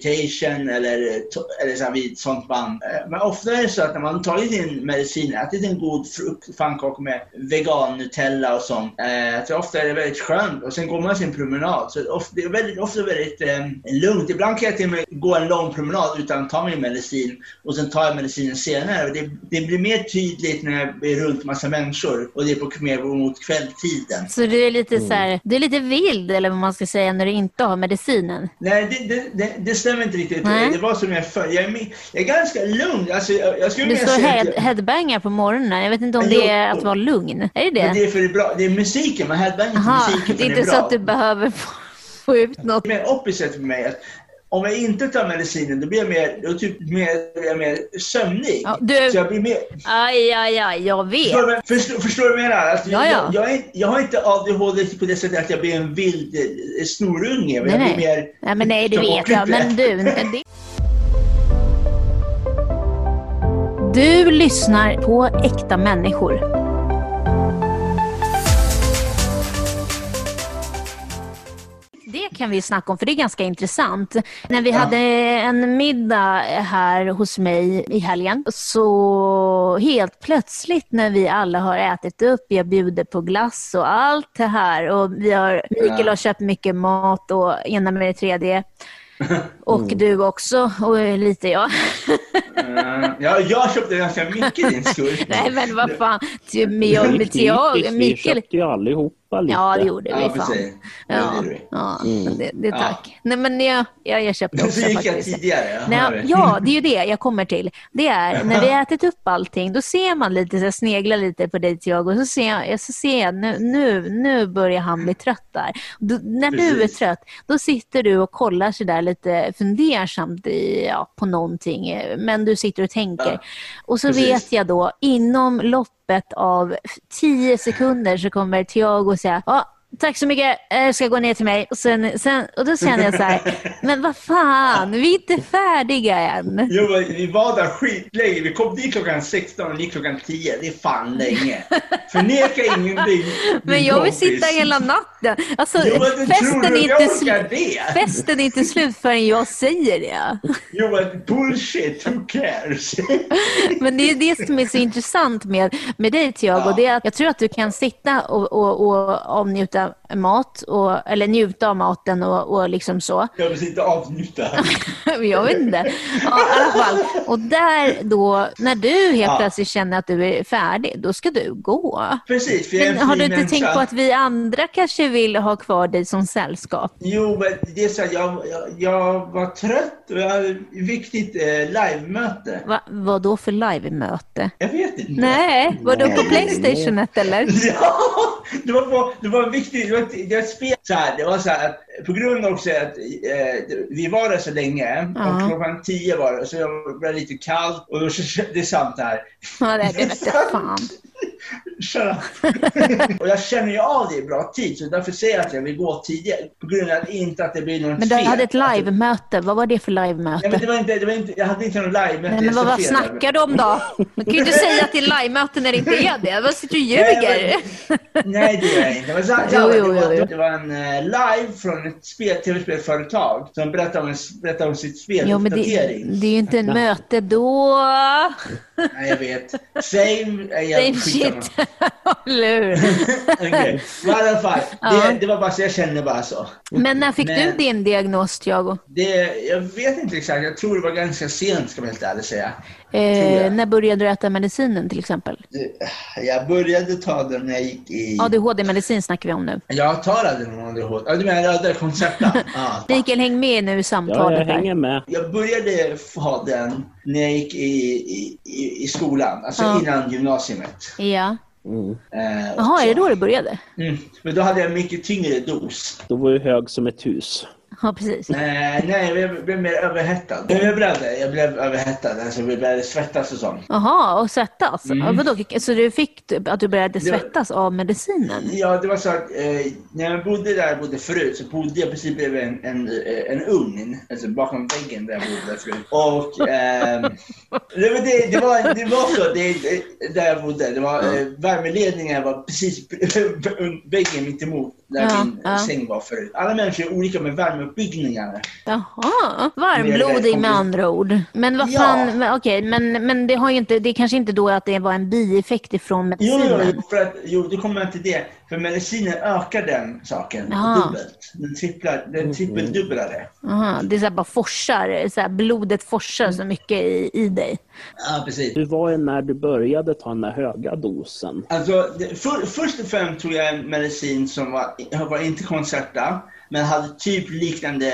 Speaker 3: Decapitation eller, eh, to- eller så här, vid sånt band. Eh, men ofta är det så att när man tagit sin medicin, ätit en god frukt, pannkaka med vegan Nutella och sånt, eh, så ofta är det väldigt skönt. Och sen går man sin promenad. Så ofta, det är väldigt, ofta väldigt eh, lugnt. Ibland kan jag till och med gå en lång promenad utan att ta min medicin och sen tar jag medicinen senare. Och Det, det blir mer tydligt när jag är runt massa människor och det är på, mer mot kvälltiden.
Speaker 1: Så du är lite så
Speaker 3: Mm.
Speaker 1: här, du är lite vild eller vad man ska säga när du inte har medicinen.
Speaker 3: Nej, det, det, det, det stämmer inte riktigt.
Speaker 1: Nej.
Speaker 3: Det var som jag förr. Jag är, mi- jag är ganska lugn. Alltså, jag, jag skulle
Speaker 1: Du
Speaker 3: vilja
Speaker 1: står
Speaker 3: säga att
Speaker 1: head,
Speaker 3: jag-
Speaker 1: headbangar på morgonen. Jag vet inte om
Speaker 3: Jo.
Speaker 1: det är att vara lugn. Är det
Speaker 3: Men det
Speaker 1: det?
Speaker 3: är för det är bra. Det är musiken, man headbangar till
Speaker 1: Aha,
Speaker 3: musiken.
Speaker 1: det
Speaker 3: för
Speaker 1: är inte
Speaker 3: bra.
Speaker 1: så att du behöver få, få ut något.
Speaker 3: Det är mer opposite för mig. Att om jag inte tar medicinen, då blir jag mer, då typ mer, blir jag mer sömnig.
Speaker 1: Ja, du-
Speaker 3: Så jag blir mer...
Speaker 1: Aj, aj, aj, jag
Speaker 3: Förstår,
Speaker 1: vet.
Speaker 3: du vad- förstår, förstår du vad jag menar? Alltså,
Speaker 1: Ja, ja.
Speaker 3: Jag, jag, är, jag har inte ADHD på det sättet att jag blir en vild eh, snorunge. men
Speaker 1: Nej,
Speaker 3: jag blir
Speaker 1: nej.
Speaker 3: mer...
Speaker 1: nej, men nej, det
Speaker 3: som
Speaker 1: vet jag.
Speaker 3: Ockupy.
Speaker 1: Men du, det... Du lyssnar på äkta människor. Det kan vi snacka om, för det är ganska intressant. När vi hade en middag här hos mig i helgen, så helt plötsligt när vi alla har ätit upp, jag bjuder på glass och allt det här och vi har, Mikael har köpt mycket mat och ena med det tredje. Och
Speaker 3: Mm.
Speaker 1: du också, och lite jag.
Speaker 3: Eh, ja, jag köpte ganska mycket din skull.
Speaker 1: Nej men vad fan, Typ Ty- men jag, men jag,
Speaker 2: vi
Speaker 1: Mikael.
Speaker 2: köpte ju allihopa lite.
Speaker 1: Ja det gjorde
Speaker 3: Ja,
Speaker 1: vi fan.
Speaker 3: precis. Det
Speaker 1: Ja,
Speaker 3: gjorde vi.
Speaker 1: ja
Speaker 2: Mm.
Speaker 1: det, det tack. Nej men jag, jag, jag köpte också
Speaker 3: Så gick jag
Speaker 1: faktiskt.
Speaker 3: tidigare. ja, jag
Speaker 1: Nej,
Speaker 3: vet.
Speaker 1: ja, det är ju det jag kommer till. Det är när vi har ätit upp allting, då ser man lite, så jag sneglar lite på dig Tiago, och så ser jag, så ser jag nu, nu, nu börjar han bli trött där. Då, när du är
Speaker 3: Precis.
Speaker 1: trött, då sitter du och kollar så där lite fundersamt i, ja, på någonting, eh, men du sitter och tänker.
Speaker 3: Ja,
Speaker 1: Och så
Speaker 3: precis.
Speaker 1: vet jag då, inom loppet loppet av 10 sekunder så kommer Tiago säga ja, Tack så mycket, Eh, jag ska gå ner till mig. Och, sen, sen, och då känner jag så här, men vad fan, vi är inte färdiga än.
Speaker 3: Jo, men vi var där skitlänge. Vi kom dit klockan 16 och gick klockan 10. Det är fan länge. Förneka ingenting. min
Speaker 1: Men jag vill sitta
Speaker 3: kompis.
Speaker 1: hela natten. Alltså,
Speaker 3: Jo, men du tror
Speaker 1: festen,
Speaker 3: du
Speaker 1: är
Speaker 3: jag
Speaker 1: inte
Speaker 3: orkar
Speaker 1: slu-
Speaker 3: det?
Speaker 1: festen är inte slut förrän jag säger det.
Speaker 3: Jo, men bullshit. Who cares?
Speaker 1: Men det är det som är så intressant med, med dig Tiago.
Speaker 3: Ja.
Speaker 1: Det är att jag tror att du kan sitta och, och, och avnjuta mat, och, eller njuta av maten och, och liksom så.
Speaker 3: Jag vill inte avnjuta.
Speaker 1: Men jag vet inte. Ja, i alla fall. Och där då, när du helt
Speaker 3: Ja.
Speaker 1: plötsligt känner att du är färdig, då ska du gå.
Speaker 3: Precis, för jag är
Speaker 1: Men
Speaker 3: en
Speaker 1: har du
Speaker 3: fin
Speaker 1: inte
Speaker 3: människa.
Speaker 1: tänkt på att vi andra kanske vill ha kvar dig som sällskap?
Speaker 3: Jo, men det är så här, jag, jag, jag var trött och jag hade ett viktigt eh, livemöte.
Speaker 1: Va, vad då för live-möte?
Speaker 3: Jag vet inte.
Speaker 1: Nej, var du på
Speaker 2: Nej.
Speaker 1: Playstationet eller?
Speaker 3: Ja, det var, på, det var viktigt. Det var, ett- det var ett spel så här. Det var så här att på grund av också att eh, vi var där så länge
Speaker 1: Ja.
Speaker 3: och klockan tio var det och så blev det lite kallt och då så, det är sant det här.
Speaker 1: Ja, nej, det vete fan.
Speaker 3: Shut up. och jag känner ju av det i bra tid så därför säger jag att jag vill gå tidigare. På grund av att inte att det blir något
Speaker 1: Men du
Speaker 3: fel.
Speaker 1: hade ett
Speaker 3: Att det-
Speaker 1: live-möte. Vad var det för
Speaker 3: Nej, men det
Speaker 1: live-möte?
Speaker 3: var inte, det var inte, jag hade inte någon live
Speaker 1: Nej, men vad, vad snackar du om då? Man kan ju inte säga att det är live-möte när det inte är det. Vad sitter du och ljuger?
Speaker 3: Nej, det gör jag inte. Men så, så,
Speaker 1: Jo,
Speaker 3: det,
Speaker 1: jo,
Speaker 3: var,
Speaker 1: jo, jo.
Speaker 3: det var en eh, live från ett spel, tv-spelföretag som berättade om, en- berättade om sitt spel,
Speaker 1: Jo, men det,
Speaker 3: uppdatering.
Speaker 1: det är ju inte en möte då.
Speaker 3: Nej, jag vet. Same, eh, jag
Speaker 1: Same
Speaker 3: skitsamma.
Speaker 1: shit. Eller hur?
Speaker 3: Okej. Men I alla fall,
Speaker 1: Ja.
Speaker 3: det, det var bara så, jag kände bara så.
Speaker 1: Men när fick du
Speaker 3: Men-
Speaker 1: din diagnos, Tiago?
Speaker 3: Det, jag vet inte exakt, jag tror det var ganska sent ska jag helt ärligt säga. Tror
Speaker 1: Eh,
Speaker 3: jag.
Speaker 1: när började du äta medicinen till exempel?
Speaker 3: Det- Jag började ta den när jag gick i...
Speaker 1: ADHD-medicin snackar vi om nu.
Speaker 3: Jag talade någon ADHD. Ja, du menar röda konceptet? Ja.
Speaker 1: Mikael, häng med nu i
Speaker 2: Ja, jag
Speaker 1: samtalet. här.
Speaker 2: hänger med.
Speaker 3: Jag började ha den när jag gick i, i, i, i skolan, alltså
Speaker 1: Ja.
Speaker 3: innan gymnasiet.
Speaker 1: Ja.
Speaker 2: Mm.
Speaker 3: Eh, och
Speaker 1: Jaha,
Speaker 3: så.
Speaker 1: är det då det började?
Speaker 3: Mm. Men då hade jag en mycket tyngre dos.
Speaker 2: Då var jag hög som ett hus.
Speaker 1: Ja, precis.
Speaker 3: Eh, nej, jag blev mer överhettad. Men Jag blev, jag blev överhettad, alltså jag började svettas och sånt.
Speaker 1: Jaha, och svettas?
Speaker 3: Mm.
Speaker 1: Ja, vadå? Så du fick typ att du började
Speaker 3: Det var-
Speaker 1: svettas av medicinen?
Speaker 3: Ja, det var så att eh, när jag bodde där jag bodde förut så bodde jag i princip bredvid en, en, eh, en ugn, alltså bakom väggen där jag bodde förut. Och ehm, nej, men det, det, var, det var så, det, det- där jag bodde, det var, eh, värmeledningen var precis bredvid väggen mitt emot där
Speaker 1: Ja,
Speaker 3: min
Speaker 1: ja.
Speaker 3: säng var förut. Alla människor är olika med värmeuppbyggningar.
Speaker 1: Jaha, varmblodig med andra ord. Men vad
Speaker 3: Ja.
Speaker 1: fan, men okej, men, men det, har ju inte, det är kanske inte då att det var en bieffekt ifrån
Speaker 3: Jo, jo,
Speaker 1: medicinen?
Speaker 3: jo, för att, jo, då kommer jag till det. För medicinen ökar den saken
Speaker 1: Jaha.
Speaker 3: dubbelt. Den, tripplar, den trippeldubblar det.
Speaker 1: Aha, det är så här bara forsar, så här blodet forsar så mycket i, i dig.
Speaker 3: Ja, precis.
Speaker 2: Hur var det när du började ta den där höga dosen?
Speaker 3: Alltså, det- för, först och främst tog jag en medicin som var, var inte Concerta, men hade typ liknande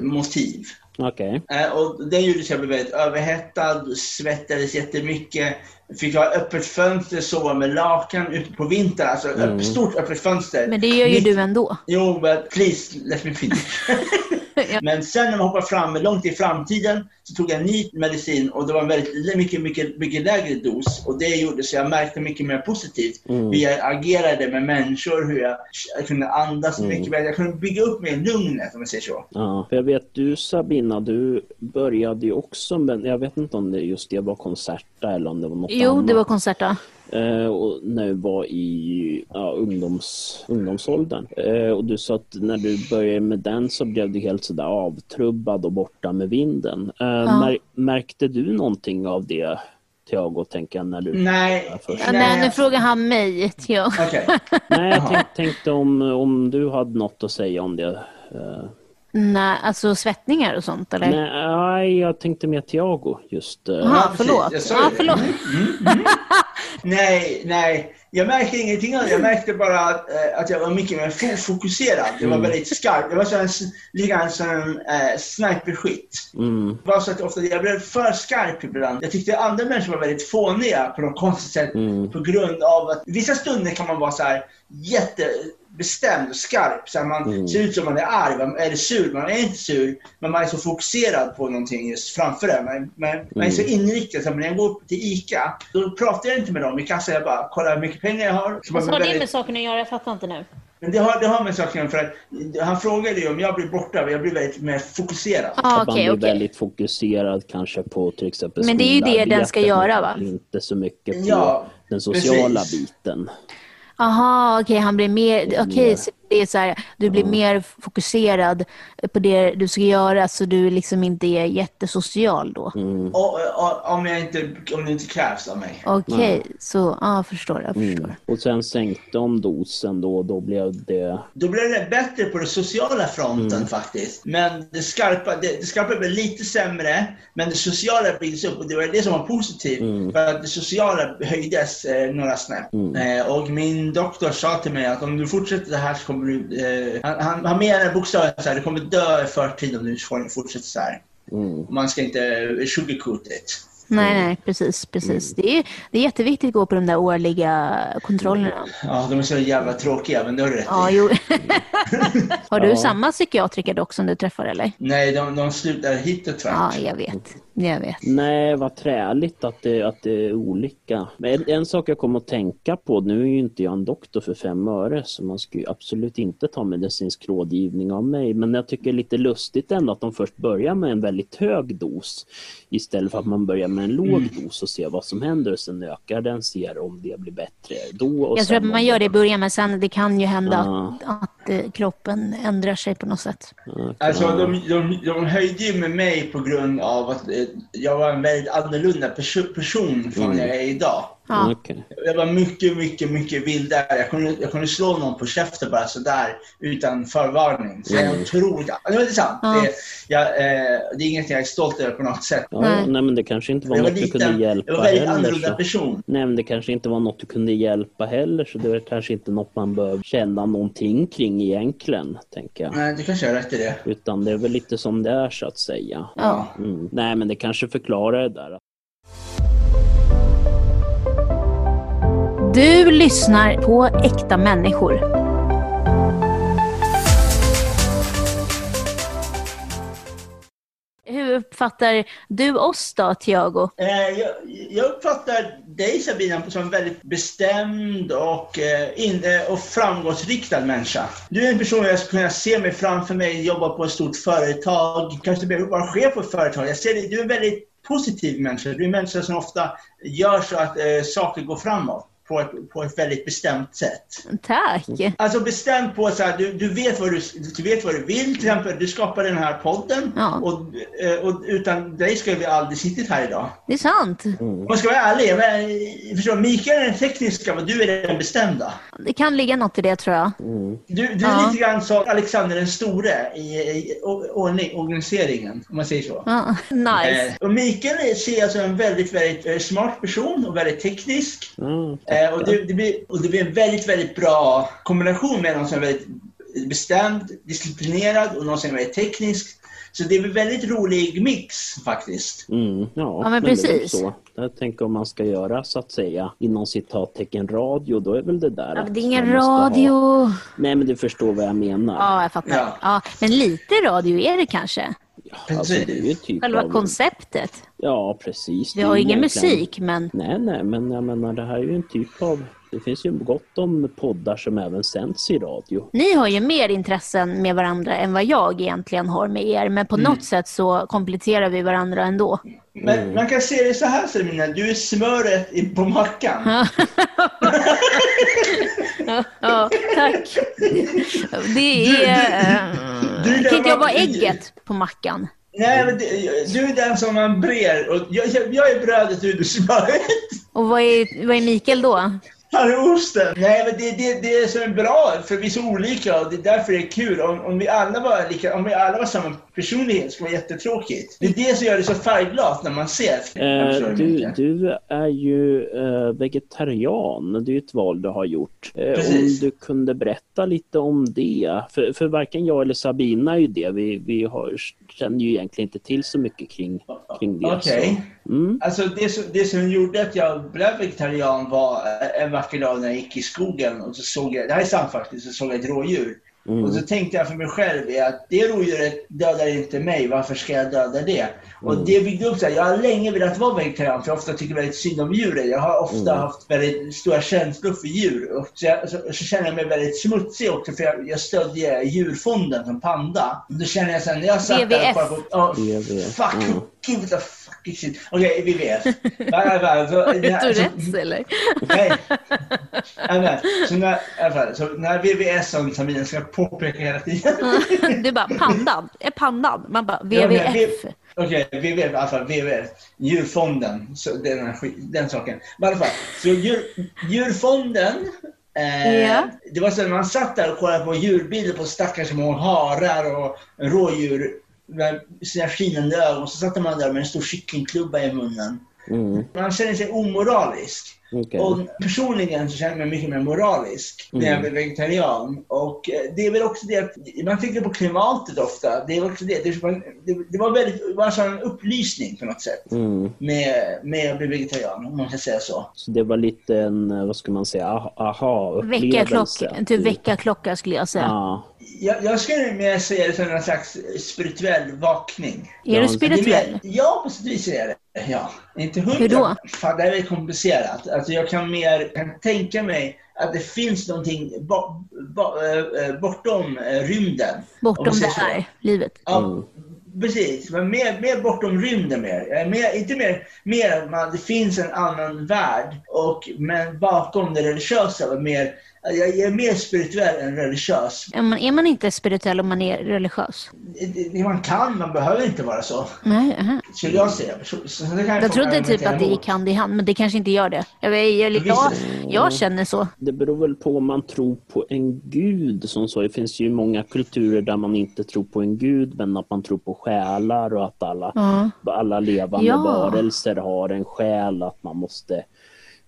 Speaker 3: motiv.
Speaker 2: Okej.
Speaker 3: Eh, och den gjorde så jag blev väldigt överhettad, svettades jättemycket, fick ha öppet fönster, sova med lakan ute på vintern. Alltså öpp-
Speaker 2: Mm.
Speaker 3: stort öppet fönster.
Speaker 1: Men det gör ju
Speaker 3: Mitt-
Speaker 1: du ändå.
Speaker 3: Jo, men please let me finish. men sen när man hoppar fram, långt i framtiden, så tog jag en ny medicin och det var en väldigt, mycket, mycket, mycket lägre dos. Och det gjorde så jag märkte mycket mer positivt
Speaker 2: Mm.
Speaker 3: hur jag agerade med människor, hur jag, jag kunde andas
Speaker 2: Mm.
Speaker 3: mycket bättre. Jag kunde bygga upp mer lugnet om man säger så.
Speaker 2: Ja, för jag vet du Sabina, du började ju också men jag vet inte om det just det var konserta eller om det var något
Speaker 1: Jo,
Speaker 2: annat.
Speaker 1: det var konserta.
Speaker 2: Eh, och när du var i ja, ungdoms, ungdomsåldern. Eh, och du sa att när du började med den så blev du helt sådär avtrubbad och borta med vinden. Eh, mär, märkte du någonting av det, Tiago, tänker jag, när du...
Speaker 3: Nej.
Speaker 2: Ja, först.
Speaker 1: Ja, nej, nu frågar han mig. Ja.
Speaker 3: Okej.
Speaker 2: Nej, jag
Speaker 3: Jaha.
Speaker 2: tänk, tänkte om, om du hade något att säga om det. Eh,
Speaker 1: Nej, alltså svettningar och sånt eller?
Speaker 2: nej, nej, jag tänkte mer Tiago just. eh,
Speaker 1: Jaha,
Speaker 3: Ja, precis.
Speaker 1: förlåt.
Speaker 3: Jag sa ju
Speaker 1: Ja,
Speaker 3: det.
Speaker 1: förlåt.
Speaker 3: Nej, nej. Jag märkte ingenting av det. Jag märkte bara att, eh, att jag var mycket mer fo- fokuserad. Jag var
Speaker 2: Mm.
Speaker 3: väldigt skarp. Jag var så en, s- lite grann som eh, sniperskytt.
Speaker 2: Mm.
Speaker 3: Det var så att ofta jag blev för skarp ibland. Jag tyckte andra människor var väldigt fåniga på något konstigt sätt
Speaker 2: Mm.
Speaker 3: på grund av att vissa stunder kan man vara så här jätte bestämd och skarp. Så att man
Speaker 2: Mm.
Speaker 3: ser ut som man är arg man- eller sur. Man är inte sur, men man är så fokuserad på någonting just framför en. Man, man, man är så
Speaker 2: Mm.
Speaker 3: inriktad. Så när jag går till ICA, då pratar jag inte med dem i kassan. Jag bara kollar hur mycket pengar jag har. Så
Speaker 4: Vad
Speaker 3: man
Speaker 4: har
Speaker 3: blir
Speaker 4: det
Speaker 3: väldigt-
Speaker 4: med saken att göra? Jag fattar inte nu.
Speaker 3: men det har, det har med saken att göra, för att han frågade ju om jag blir borta, men jag blir väldigt mer fokuserad.
Speaker 1: Ja,
Speaker 2: Att man
Speaker 1: Ah, okej,
Speaker 2: blir
Speaker 1: okej.
Speaker 2: väldigt fokuserad kanske på till exempel
Speaker 1: Men det är ju det den ska
Speaker 2: skolarbetet,
Speaker 1: göra, va?
Speaker 2: Inte så mycket på
Speaker 3: Ja,
Speaker 2: den sociala
Speaker 3: precis.
Speaker 2: biten.
Speaker 1: Jaha, okej, han blir mer... Okej,
Speaker 2: Mer.
Speaker 1: så det är så här, du
Speaker 3: Mm.
Speaker 1: blir mer fokuserad på det du ska göra så du liksom inte är jättesocial då.
Speaker 2: Mm.
Speaker 3: Och, och, om, jag inte, om det inte krävs av mig.
Speaker 1: Okej, så ja, jag förstår. Jag förstår.
Speaker 2: Mm. Och sen sänkte de dosen då, då blev det...
Speaker 3: Då blir det bättre på den sociala fronten
Speaker 2: Mm.
Speaker 3: faktiskt. Men det skarpa, det, det skarpa blir lite sämre, men det sociala byggs upp och det var det som var positivt.
Speaker 2: Mm.
Speaker 3: För att det sociala höjdes eh, några snäpp.
Speaker 2: Mm.
Speaker 3: Eh, och min doktor sa till mig att om du fortsätter det här så kommer du... Eh, han, han, han menar bokstavligen så här, du kommer dö i förtid om du får- fortsätter så här.
Speaker 2: Mm.
Speaker 3: Man ska inte eh, sugarcoat it.
Speaker 1: Nej,
Speaker 2: Eh,
Speaker 1: nej, precis. precis. Det, är, det är jätteviktigt att gå på de där årliga kontrollerna.
Speaker 3: Ja, de är så jävla tråkiga, men det har du rätt
Speaker 1: Ja,
Speaker 3: i.
Speaker 1: jo. Har du
Speaker 2: Ja.
Speaker 1: samma psykiatriker dock som du träffar eller?
Speaker 3: Nej, de, de slutar hit och tvärt.
Speaker 1: Ja, jag vet. Jag vet.
Speaker 2: Nej, vad träligt att det, att det är olika. Men en, en sak jag kom att tänka på, nu är ju inte jag en doktor för fem öre, så man ska ju absolut inte ta medicinsk rådgivning av mig. Men jag tycker det är lite lustigt ändå att de först börjar med en väldigt hög dos istället för att man börjar med en låg
Speaker 3: Mm.
Speaker 2: dos och ser vad som händer och sen ökar den, ser om det blir bättre då. Och
Speaker 1: Jag tror
Speaker 2: sen
Speaker 1: att man
Speaker 2: om Ah,
Speaker 1: gör det i början, men sen det kan ju hända
Speaker 2: Ja.
Speaker 1: att, att eh, kroppen ändrar sig på något sätt.
Speaker 2: Ja,
Speaker 3: Alltså, de, de, de höjde ju med mig på grund av att eh, jag var en väldigt annorlunda perso- person från
Speaker 2: Mm.
Speaker 3: jag är idag.
Speaker 1: Ja.
Speaker 2: okej.
Speaker 3: Jag var mycket, mycket, mycket vildare. Jag kunde, jag kunde slå någon på käften bara sådär utan förvarning. Så jag är
Speaker 2: Mm.
Speaker 3: otroligt... Det var intressant.
Speaker 1: Ja.
Speaker 3: Det, jag, eh, det är inget jag är stolt över på något sätt.
Speaker 2: Ja,
Speaker 1: Nej.
Speaker 2: nej. men det kanske inte var
Speaker 3: jag var
Speaker 2: något du kunde
Speaker 3: liten.
Speaker 2: hjälpa
Speaker 3: Jag var väldigt
Speaker 2: heller,
Speaker 3: annorlunda
Speaker 2: så-
Speaker 3: person.
Speaker 2: Nej, men det kanske inte var något du kunde hjälpa heller, så det var kanske inte något man behöver känna någonting kring egentligen, tänker jag.
Speaker 3: Nej, du kanske har rätt i det.
Speaker 2: Utan det är väl lite som det är, så att säga.
Speaker 1: Ja.
Speaker 2: Mm. Nej, men det kanske förklarar det där.
Speaker 1: Du lyssnar på äkta människor. Hur uppfattar du oss då, Tiago?
Speaker 3: Eh, jag, jag uppfattar dig Sabina som en väldigt bestämd och, eh, in, eh, och framgångsriktad människa. Du är en person jag skulle kunna se mig framför mig jobba på ett stort företag, kanske bli- vara chef på ett företag. Jag ser dig, du är en väldigt positiv människa. Du är en människa som ofta gör så att eh, saker går framåt på ett, på ett väldigt bestämt sätt.
Speaker 1: Tack!
Speaker 3: Alltså bestämt på så här, du, du, vet vad du, du vet vad du vill, till exempel du skapar den här podden
Speaker 1: Ja.
Speaker 3: och, eh, och utan dig skulle vi aldrig suttit här idag.
Speaker 1: Det är sant.
Speaker 3: Om jag ska vara ärlig, jag men- förstår, Mikael är den tekniska men du är den bestämda.
Speaker 1: Det kan ligga något i det tror jag.
Speaker 3: Du, du är
Speaker 1: Ja.
Speaker 3: lite grann som Alexander den store i, i o- ordning, organiseringen, om man säger så.
Speaker 1: Ja, nice.
Speaker 3: Eh, och Mikael är- ser jag som en väldigt, väldigt eh, smart person och väldigt teknisk.
Speaker 2: Ja,
Speaker 3: Eh, och, det, det blir, och det blir en väldigt, väldigt bra kombination med någon som är väldigt bestämd, disciplinerad och någon som är väldigt teknisk. Så det blir en väldigt rolig mix faktiskt.
Speaker 2: Mm, ja,
Speaker 1: Ja, men
Speaker 2: det är väl
Speaker 1: precis.
Speaker 2: Så. Jag tänker om man ska göra så att säga inom citattecken radio, då är väl det där
Speaker 1: Ja, men
Speaker 2: att
Speaker 1: det är ingen
Speaker 2: man måste ha-
Speaker 1: radio.
Speaker 2: Nej, men du förstår vad jag menar.
Speaker 1: Ja, jag fattar. Ja.
Speaker 3: Ja.
Speaker 1: men lite radio är det kanske.
Speaker 2: alltså, det är ju typ
Speaker 1: Själva
Speaker 2: av...
Speaker 1: konceptet.
Speaker 2: Ja, precis.
Speaker 1: Vi
Speaker 2: Det är
Speaker 1: har ju ingen
Speaker 2: egentligen-
Speaker 1: musik, men
Speaker 2: Nej, nej, men jag menar det här är ju en typ av... Det finns ju gott om poddar som även sänds i radio.
Speaker 1: ni har ju mer intressen med varandra än vad jag egentligen har med er. Men på något sätt så kompletterar vi varandra ändå.
Speaker 3: Men
Speaker 1: Mm.
Speaker 3: man kan se det så här Selmina, du är smöret i- på mackan.
Speaker 1: Ja, tack. Det är... eh,
Speaker 3: du-
Speaker 1: Kan inte jag vara ägget på mackan?
Speaker 3: Nej, men du, du är den som man brer. Och jag, jag, jag är brödet du är smöret.
Speaker 1: Och vad är, vad är Mikael då?
Speaker 3: Han är osten. Nej, men det, det, det är som är bra, för vi är så olika och det är därför det är kul. Om, om, vi alla var lika, om vi alla var samma personlighet skulle det vara jättetråkigt. Det är det som gör det så färgglatt när man ser. Jag förstår
Speaker 2: Eh, du,
Speaker 3: det mycket.
Speaker 2: du är ju eh, vegetarian, det är ju ett val du har gjort. Eh, om
Speaker 3: Precis.
Speaker 2: du kunde berätta lite om det. För, för varken jag eller Sabina är ju det. Vi, vi har, känner ju egentligen inte till så mycket kring kring det.
Speaker 3: Okej.
Speaker 2: Så. Mm.
Speaker 3: Alltså det, som, det som gjorde att jag blev vegetarian var eh, en vacker dag när jag gick i skogen och så såg jag, det här är sant faktiskt, så såg jag ett rådjur.
Speaker 2: Mm.
Speaker 3: Och så tänkte jag för mig själv är att det rådjuret dödar inte mig, varför ska jag döda det? Och det byggde upp så här, jag har länge velat vara vegetarian för jag ofta tycker väldigt synd om djuren. Jag har ofta haft väldigt stora känslor för djur. Och så, jag, så, så känner jag mig väldigt smutsig också för jag, jag stödde djurfonden som panda. Och då känner jag sen när jag satt där
Speaker 1: VVF.
Speaker 3: och bara på, ja,
Speaker 2: VVF,
Speaker 3: fuck,
Speaker 2: ja.
Speaker 3: gud what the fucking shit. Okej, VVF. Va, va, va, så- det här- så-
Speaker 1: Tourettes eller?
Speaker 3: Nej. Nej, nej. Så när, i alla fall, så när VVS som terminen ska jag påpeka hela tiden.
Speaker 1: Du bara, pandan, är pandan? Man bara,
Speaker 3: Ja, men vi-
Speaker 1: WWF.
Speaker 3: Okej, VVF, alltså VVF, djurfonden, så den, här, skit- den saken. Men i alla fall, så djur, djurfonden, eh,
Speaker 1: Ja.
Speaker 3: det var så när man satt där och kollade på djurbilder på stackars små harar och rådjur med sina skinande ögon, så satt man där med en stor kycklingklubba i munnen.
Speaker 2: Mm.
Speaker 3: Man känner sig omoralisk.
Speaker 2: Okej.
Speaker 3: Och personligen så känner jag mig mycket mer moralisk när jag
Speaker 2: Mm.
Speaker 3: blev vegetarian. Och eh, det är väl också det att man tänker på klimatet ofta. Det, är också det. Det, var, det, det var väldigt, det var alltså en sån upplysning på något sätt
Speaker 2: Mm.
Speaker 3: med, med att bli vegetarian, om man kan säga så.
Speaker 2: Så det var lite en, eh, vad ska man säga, ah- aha-upplevelse.
Speaker 1: Väckarklocka, typ väckarklocka skulle jag säga.
Speaker 2: Ja.
Speaker 3: Jag, jag skulle mer säga det som en slags spirituell vakning.
Speaker 1: Är du
Speaker 2: Ja,
Speaker 3: Det är mer-
Speaker 1: spirituell?
Speaker 3: Ja, på sätt och vis är jag det. Ja. Inte hundra.
Speaker 1: Hur då?
Speaker 3: Fan, det här är komplicerat. Alltså, jag kan mer kan tänka mig att det finns någonting bo, bo, eh, bortom eh, rymden. Om man
Speaker 1: Bortom det
Speaker 3: säger så.
Speaker 1: här livet?
Speaker 3: Ja,
Speaker 2: Mm.
Speaker 3: precis. Men mer, mer bortom rymden mer. Jag är mer inte mer, mer att man, det finns en annan värld. Och, men bakom det religiösa var mer, jag är mer spirituell än religiös.
Speaker 1: Är man, är man inte spirituell om man är religiös?
Speaker 3: Det, det man kan, man behöver inte vara så.
Speaker 1: Nej, aha.
Speaker 3: Skulle jag säga. Så, så, så det kan
Speaker 1: Jag
Speaker 3: folk
Speaker 1: trodde typ
Speaker 3: argumentera
Speaker 1: att det
Speaker 3: emot.
Speaker 1: gick hand i hand, men det kanske inte gör det. Jag, jag, jag, jag, jag känner så.
Speaker 2: Det beror väl på om man tror på en gud. Som så. Det finns ju många kulturer där man inte tror på en gud, men att man tror på själar och att alla,
Speaker 1: Ja.
Speaker 2: alla levande
Speaker 1: Ja.
Speaker 2: varelser har en själ, att man måste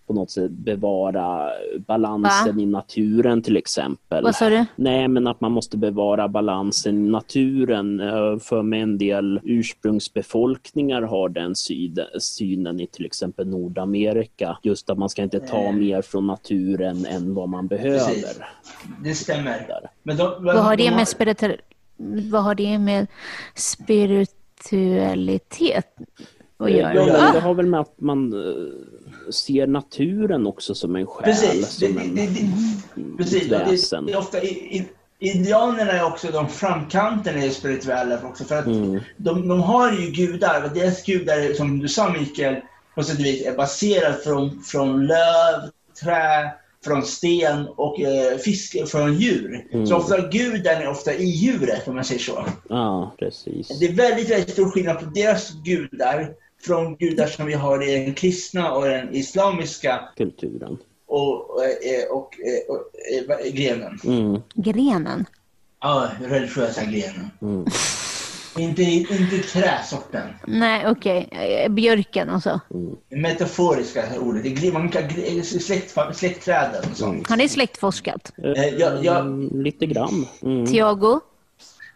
Speaker 2: på något sätt bevara balansen i naturen till exempel.
Speaker 1: Vad sa du?
Speaker 2: Nej, men att man måste bevara balansen i naturen. Eh, För mig en del ursprungsbefolkningar har den syd- synen i till exempel Nordamerika. Just att man ska inte ta
Speaker 3: Mm.
Speaker 2: mer från naturen än vad man
Speaker 3: Precis.
Speaker 2: behöver.
Speaker 3: Det stämmer.
Speaker 2: Där.
Speaker 3: Men de,
Speaker 1: Vad har det med spirituell... Vad har det med spiritualitet att
Speaker 2: Ja,
Speaker 1: göra? Ah,
Speaker 2: men det
Speaker 1: Va?
Speaker 2: har väl med att man eh, ser naturen också som en själ.
Speaker 3: Precis. Det,
Speaker 2: Som
Speaker 3: det,
Speaker 2: en...
Speaker 3: det, det, precis. Och Det,
Speaker 2: väsen.
Speaker 3: det är ofta, i, i, indianerna är också de framkanten i spirituella också. För att de, de har ju gudar. Och deras gudar, är, som du sa Mikael, på sätt och vis är baserad från, från löv, trä, från sten och eh, fisk från djur. Så ofta guden är ofta i djuret om man säger så.
Speaker 2: Ja, precis.
Speaker 3: Det är väldigt, väldigt stor skillnad på deras gudar från gudar som vi har i den kristna och den islamiska
Speaker 2: Kulturen.
Speaker 3: och, och, eh, och, eh, och, eh, va- grenen.
Speaker 2: Mm.
Speaker 1: Grenen?
Speaker 3: Ja, religiösa grenen.
Speaker 2: Mm.
Speaker 3: Inte, inte träsorten.
Speaker 1: Nej, okej. Eh, Björken och så.
Speaker 3: Metaforiska ordet. Det är gre- Man kan, gre- släkt, släktträden och sånt.
Speaker 1: Har ni släktforskat?
Speaker 3: Eh, jag, jag,
Speaker 2: Mm, Lite grann. Mm.
Speaker 1: Tiago?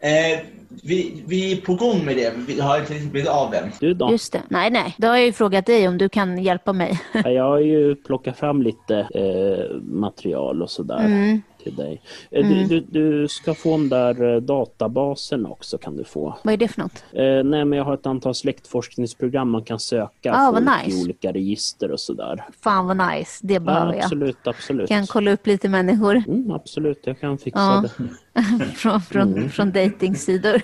Speaker 3: eh, vi, vi är på gång med det. Vi har inte riktigt blivit av än.
Speaker 2: Du då?
Speaker 1: Just det. Nej, nej. Då har jag ju frågat dig om du kan hjälpa mig.
Speaker 2: Ja, Jag har ju plockat fram lite eh, material och sådär
Speaker 1: Mm.
Speaker 2: till dig. Eh, Du, du, du ska få den där eh, databasen också kan du få.
Speaker 1: Vad är det för något?
Speaker 2: Eh, nej men jag har ett antal släktforskningsprogram man kan söka
Speaker 1: Ah, vad
Speaker 2: folk
Speaker 1: nice.
Speaker 2: i olika register och sådär.
Speaker 1: Fan vad nice. Det
Speaker 2: Ja,
Speaker 1: behöver jag.
Speaker 2: absolut, absolut.
Speaker 1: Kan kolla upp lite människor
Speaker 2: Mm, absolut, jag kan fixa
Speaker 1: Ja.
Speaker 2: det.
Speaker 1: från, från, från dejtingsidor.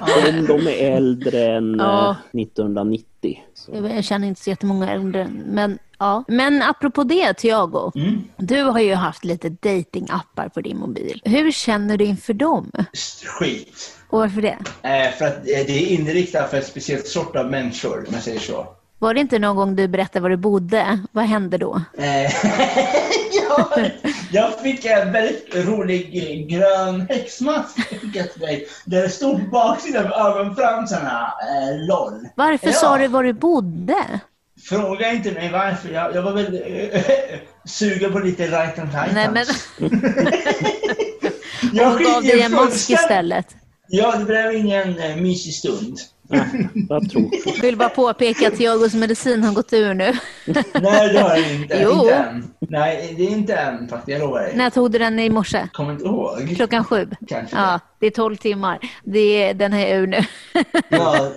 Speaker 2: Om de är äldre än
Speaker 1: Ja.
Speaker 2: eh, 1990. Så.
Speaker 1: Jag känner inte så jättemånga äldre. Men, ja. men apropå det, Tiago. Du har ju haft lite datingappar på din mobil. Hur känner du inför dem?
Speaker 3: Skit.
Speaker 1: Och varför det?
Speaker 3: Eh, för att eh, det är inriktat för ett speciellt sort av människor, om man säger så.
Speaker 1: Var det inte någon gång du berättade var du bodde? Vad hände då?
Speaker 3: Eh, jag, jag fick en väldigt rolig eh, grön häxmask skickat till mig. Där det stod på baksidan av ögonfransarna, eh, LOL.
Speaker 1: Varför
Speaker 3: Ja.
Speaker 1: sa du var du bodde?
Speaker 3: Fråga inte mig varför. Jag, jag var väl eh, sugen på lite right and right
Speaker 1: Nej, men
Speaker 3: jag
Speaker 1: hon gav
Speaker 3: skiter i
Speaker 1: dig en mask
Speaker 3: fullständigt-
Speaker 1: istället.
Speaker 3: Ja, det blev ingen eh, mysig stund.
Speaker 2: Ja, jag tror
Speaker 1: Vill bara påpeka att Tiagos medicin har gått ur nu.
Speaker 3: Nej, det har jag inte.
Speaker 1: Jo.
Speaker 3: Inte än. Nej, det är inte än faktiskt. Jag lovar dig.
Speaker 1: När tog du den i morse?
Speaker 3: Kommer inte ihåg.
Speaker 1: Klockan sju?
Speaker 3: Kanske.
Speaker 1: Ja, det är 12 timmar. Det, den är ur nu.
Speaker 3: Ja,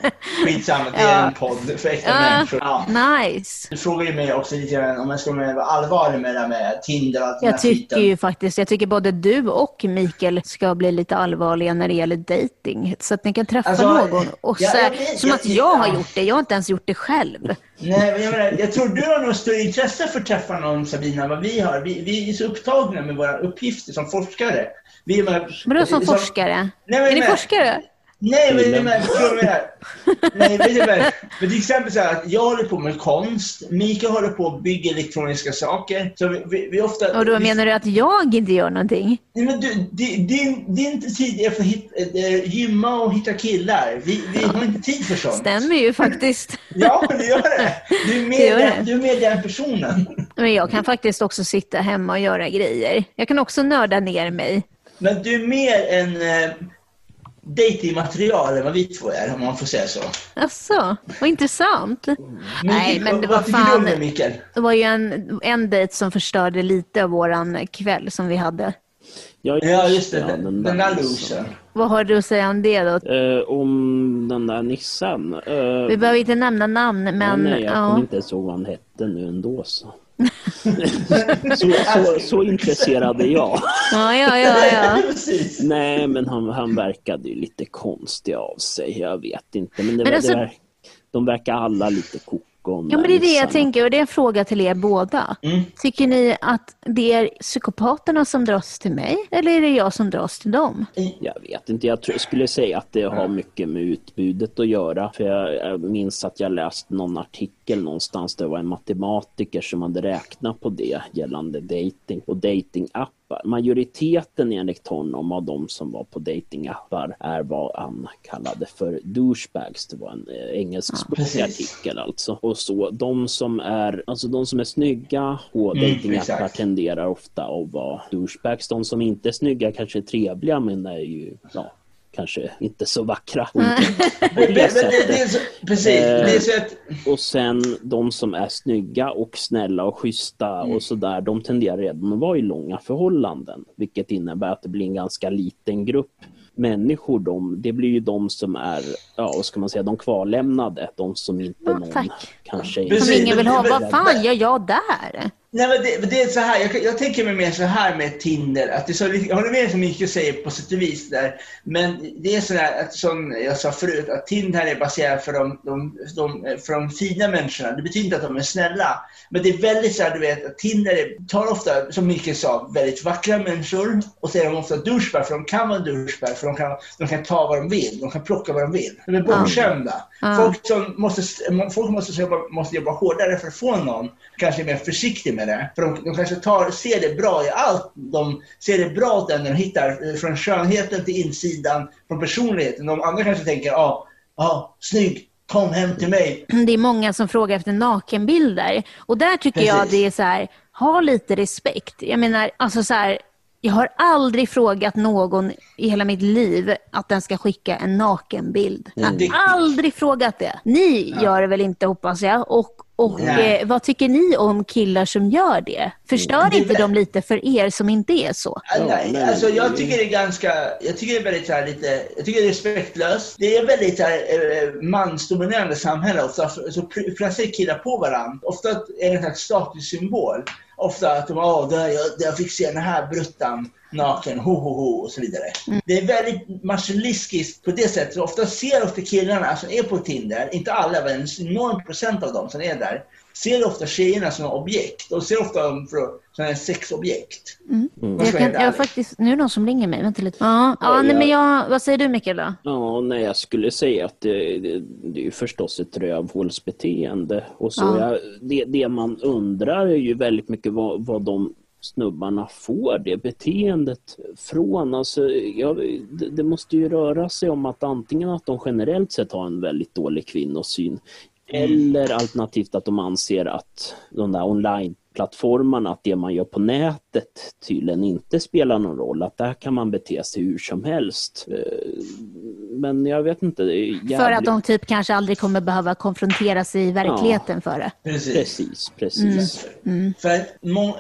Speaker 3: skitsamma. Det är
Speaker 1: Ja.
Speaker 3: en podd för äkta
Speaker 1: Ja.
Speaker 3: människor. Ja.
Speaker 1: Nice!
Speaker 3: Du frågar ju mig också lite grann om jag ska vara allvarlig med det här med Tinder och allt den
Speaker 1: Jag
Speaker 3: här
Speaker 1: tycker
Speaker 3: skiten.
Speaker 1: ju faktiskt, jag tycker både du och Mikael ska bli lite allvarliga när det gäller dating. Så att ni kan träffa
Speaker 3: Alltså,
Speaker 1: någon. Och så,
Speaker 3: jag- jag
Speaker 1: här,
Speaker 3: vet,
Speaker 1: som
Speaker 3: jag
Speaker 1: att jag har
Speaker 3: tycker-
Speaker 1: gjort det, jag har inte ens gjort det själv.
Speaker 3: Nej, men jag, menar, jag tror du har nog större intresse för att träffa någon Sabina än vad vi har. Vi, vi är så upptagna med våra uppgifter som forskare. Vi är med,
Speaker 1: Men då som forskare?
Speaker 3: Nej, men
Speaker 1: är ni
Speaker 3: med-
Speaker 1: forskare?
Speaker 3: Nej, men det är med, förstår du vad jag menar? Nej, men det är med, men till exempel så här att jag håller på med konst, Mika håller på och bygger elektroniska saker. Så vi, vi, vi ofta...
Speaker 1: Och då
Speaker 3: vi-
Speaker 1: menar du att jag inte gör någonting?
Speaker 3: Nej, men du, di- din, din tid är för att hit, eh, gymma och hitta killar. Vi, vi har inte tid för sånt.
Speaker 1: Stämmer ju faktiskt.
Speaker 3: Ja, det gör det. Du är
Speaker 1: Det gör
Speaker 3: mer,
Speaker 1: det.
Speaker 3: den, du är mer den personen.
Speaker 1: Men jag kan faktiskt också sitta hemma och göra grejer. Jag kan också nörda ner mig.
Speaker 3: Men du är mer en eh, datingmaterial än vad vi två är, om man får säga så.
Speaker 1: Alltså, vad intressant. Nej, men det
Speaker 3: vad-
Speaker 1: var
Speaker 3: vad tycker du om
Speaker 1: fan...
Speaker 3: det, Mikael?
Speaker 1: Det var ju en, en dejt som förstörde lite av våran kväll som vi hhade.
Speaker 2: Ja,
Speaker 3: Ja, just det.
Speaker 2: ja,
Speaker 3: Den, den där
Speaker 2: nissen.
Speaker 3: losern.
Speaker 1: Vad har du att säga om det då?
Speaker 2: liksom. Eh, om den där nissen. Eh,
Speaker 1: Vi behöver inte nämna namn, men...
Speaker 2: nej, jag
Speaker 1: ja.
Speaker 2: kommer inte ens ihåg vad han hette nu ändå. Så, så, så, så intresserad är jag.
Speaker 1: ja, ja, ja, ja.
Speaker 3: Precis.
Speaker 2: Nej, men han, han verkade ju lite konstig av sig. Jag vet inte. Men, det,
Speaker 1: Men
Speaker 2: det
Speaker 1: alltså-
Speaker 2: verk, de verkar alla lite koko. om
Speaker 1: Ja, men
Speaker 2: den
Speaker 1: det är det
Speaker 2: nissen.
Speaker 1: jag tänker och det är en fråga till er båda.
Speaker 3: Mm.
Speaker 1: Tycker ni att det är psykopaterna som dras till mig eller är det jag som dras till dem?
Speaker 2: Jag vet inte. Jag tror, skulle säga att det har mycket med utbudet att göra. För jag, jag minns att jag läste någon artikel någonstans. där Det var en matematiker som hade räknat på det gällande dating och datingappar. Majoriteten enligt honom av de som var på datingappar är vad han kallade för douchebags. Det var en eh, engelskspråkig
Speaker 3: Ja, precis.
Speaker 2: artikel alltså. Och så de som är, alltså de som är snygga på
Speaker 3: Mm,
Speaker 2: datingappar
Speaker 3: exakt.
Speaker 2: tenderar ofta att vara douchebags. De som inte är snygga kanske är trevliga men är ju ja, kanske inte så vackra. Och, inte, på
Speaker 3: Men,
Speaker 2: det
Speaker 3: men, det, det är
Speaker 2: sättet. Eh.
Speaker 3: så, precis. Det är så att,
Speaker 2: och sen de som är snygga och snälla och schyssta
Speaker 3: Mm.
Speaker 2: och sådär, de tenderar redan att vara i långa förhållanden. Vilket innebär att det blir en ganska liten grupp människor. De, det blir ju de som är, ja vad ska man säga, de kvarlämnade. De som inte
Speaker 1: Ja,
Speaker 2: någon
Speaker 1: tack.
Speaker 2: kanske...
Speaker 1: Som
Speaker 3: Precis,
Speaker 1: ingen vill ha.
Speaker 3: men-
Speaker 1: Vad fan gör jag där?
Speaker 3: nej, men det, men det är så här, jag, jag tänker mig mer så här med Tinder. Att det är så, jag håller med som Mikael säger på sätt och vis där. Men det är så där, att, som jag sa förut, att Tinder är baserat för de, de, de, för de fina människorna. Det betyder inte att de är snälla. Men det är väldigt så här, du vet, att Tinder är- tar ofta, som Mikael sa, väldigt vackra människor. Och så är de ofta douchebag, för de kan vara douchebag, för de kan, de kan ta vad de vill. De kan plocka vad de vill. De är bortskämda.
Speaker 1: Ja.
Speaker 3: Folk som måste, folk måste, jobba, måste jobba hårdare för att få någon kanske är mer försiktig med det. För de, de kanske tar, ser det bra i allt. De ser det bra åt den de hittar. eh, Från skönheten till insidan, från personligheten. De andra kanske tänker, ja, ah, ah, snygg, kom hem till mig.
Speaker 1: det är många som frågar efter nakenbilder. Och där tycker
Speaker 3: Precis.
Speaker 1: jag det är så här, ha lite respekt. Jag menar, alltså så här, jag har aldrig frågat någon i hela mitt liv att den ska skicka en nakenbild. Jag
Speaker 3: Mm.
Speaker 1: har aldrig frågat det. Ni gör det väl inte hoppas jag? Och, och
Speaker 3: Nej.
Speaker 1: eh, vad tycker ni om killar som gör det? Förstör
Speaker 3: Det-
Speaker 1: inte de lite för er som inte är så?
Speaker 3: Ah,
Speaker 2: Ja,
Speaker 3: nej,
Speaker 2: nej,
Speaker 3: alltså
Speaker 2: nej,
Speaker 3: jag
Speaker 2: nej.
Speaker 3: tycker det är ganska, jag tycker det är väldigt så här lite, jag tycker det är respektlöst. Det är väldigt så här, eh, mansdominerande samhälle ofta, så så pr- placerar killar på varandra. Ofta är det en slags statussymbol. Ofta att de, åh, där jag, där jag fick se den här bruttan naken, ho ho ho och så vidare. Det är väldigt maskulinistiskt på det sättet. Ofta ser ofta killarna som är på Tinder, inte alla men en enorm procent av dem som är där, ser ofta tjejerna som objekt. De ser ofta dem för- som sexobjekt. Jag
Speaker 1: Jag
Speaker 3: ska
Speaker 1: kan,
Speaker 3: vara helt
Speaker 1: jag har
Speaker 3: ärlig.
Speaker 1: faktiskt, nu är det någon som ringer mig, vänta lite. Ja, ja, nej,
Speaker 2: jag-
Speaker 1: men jag, vad säger du Mikael då?
Speaker 2: Ja, nej, jag skulle säga att det, det, det är ju förstås ett rövhålsbeteende. Och så
Speaker 1: Ja.
Speaker 2: jag, det, det man undrar är ju väldigt mycket vad, vad de snubbarna får det beteendet från. Alltså, ja, det, det måste ju röra sig om att antingen att de generellt sett har en väldigt
Speaker 1: Mm.
Speaker 2: dålig kvinnosyn eller alternativt att de anser att de där online plattformarna att det man gör på nätet tydligen inte spelar någon roll, att där kan man bete sig hur som helst. Eh, Men jag vet inte. det är
Speaker 1: För att
Speaker 2: jävligt-
Speaker 1: de typ kanske aldrig kommer behöva konfronteras i verkligheten för det.
Speaker 3: Precis.
Speaker 2: Precis, precis.
Speaker 3: För att må,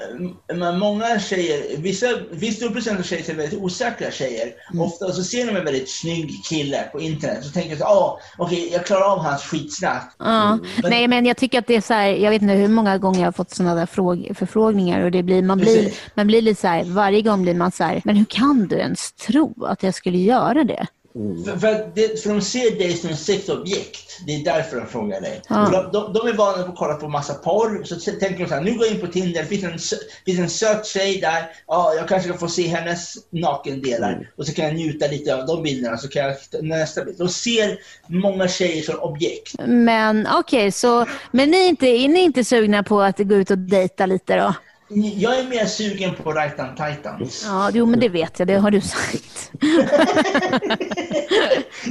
Speaker 3: men många tjejer, vissa, viss stor procent av tjejer är väldigt osäkra tjejer. Ofta så ser de en väldigt snygg kille på internet så tänker de så ah, okej jag klarar av hans skitsnack.
Speaker 1: Ja. Nej, men jag tycker att det är så här, jag vet inte hur många gånger jag har fått sådana där fråg- förfrågningar och det blir, man, blir,
Speaker 3: Precis.
Speaker 1: man blir lite så här, varje gång blir man så här, men hur kan du ens tro att jag skulle göra det?
Speaker 3: För, för, att det, för de ser dig som ett sexobjekt. Det är därför de frågar dig.
Speaker 1: Ja.
Speaker 3: För De, de, de är vana på att kolla på massa porr. Så t- tänker de så här, nu går jag in på Tinder, det finns en, sö- finns en söt tjej där. Ja, jag kanske kan få se hennes nakendelar.
Speaker 2: Mm.
Speaker 3: Och så kan jag njuta lite av de bilderna. Så kan jag ta nästa bild. De ser många tjejer som objekt.
Speaker 1: Men okej, så, men ni är, inte, är ni inte sugna på att gå ut och dejta lite då?
Speaker 3: Jag är mer sugen på Rajtan Titan.
Speaker 1: Ja, jo men det vet jag, det har du sagt.
Speaker 3: Ja,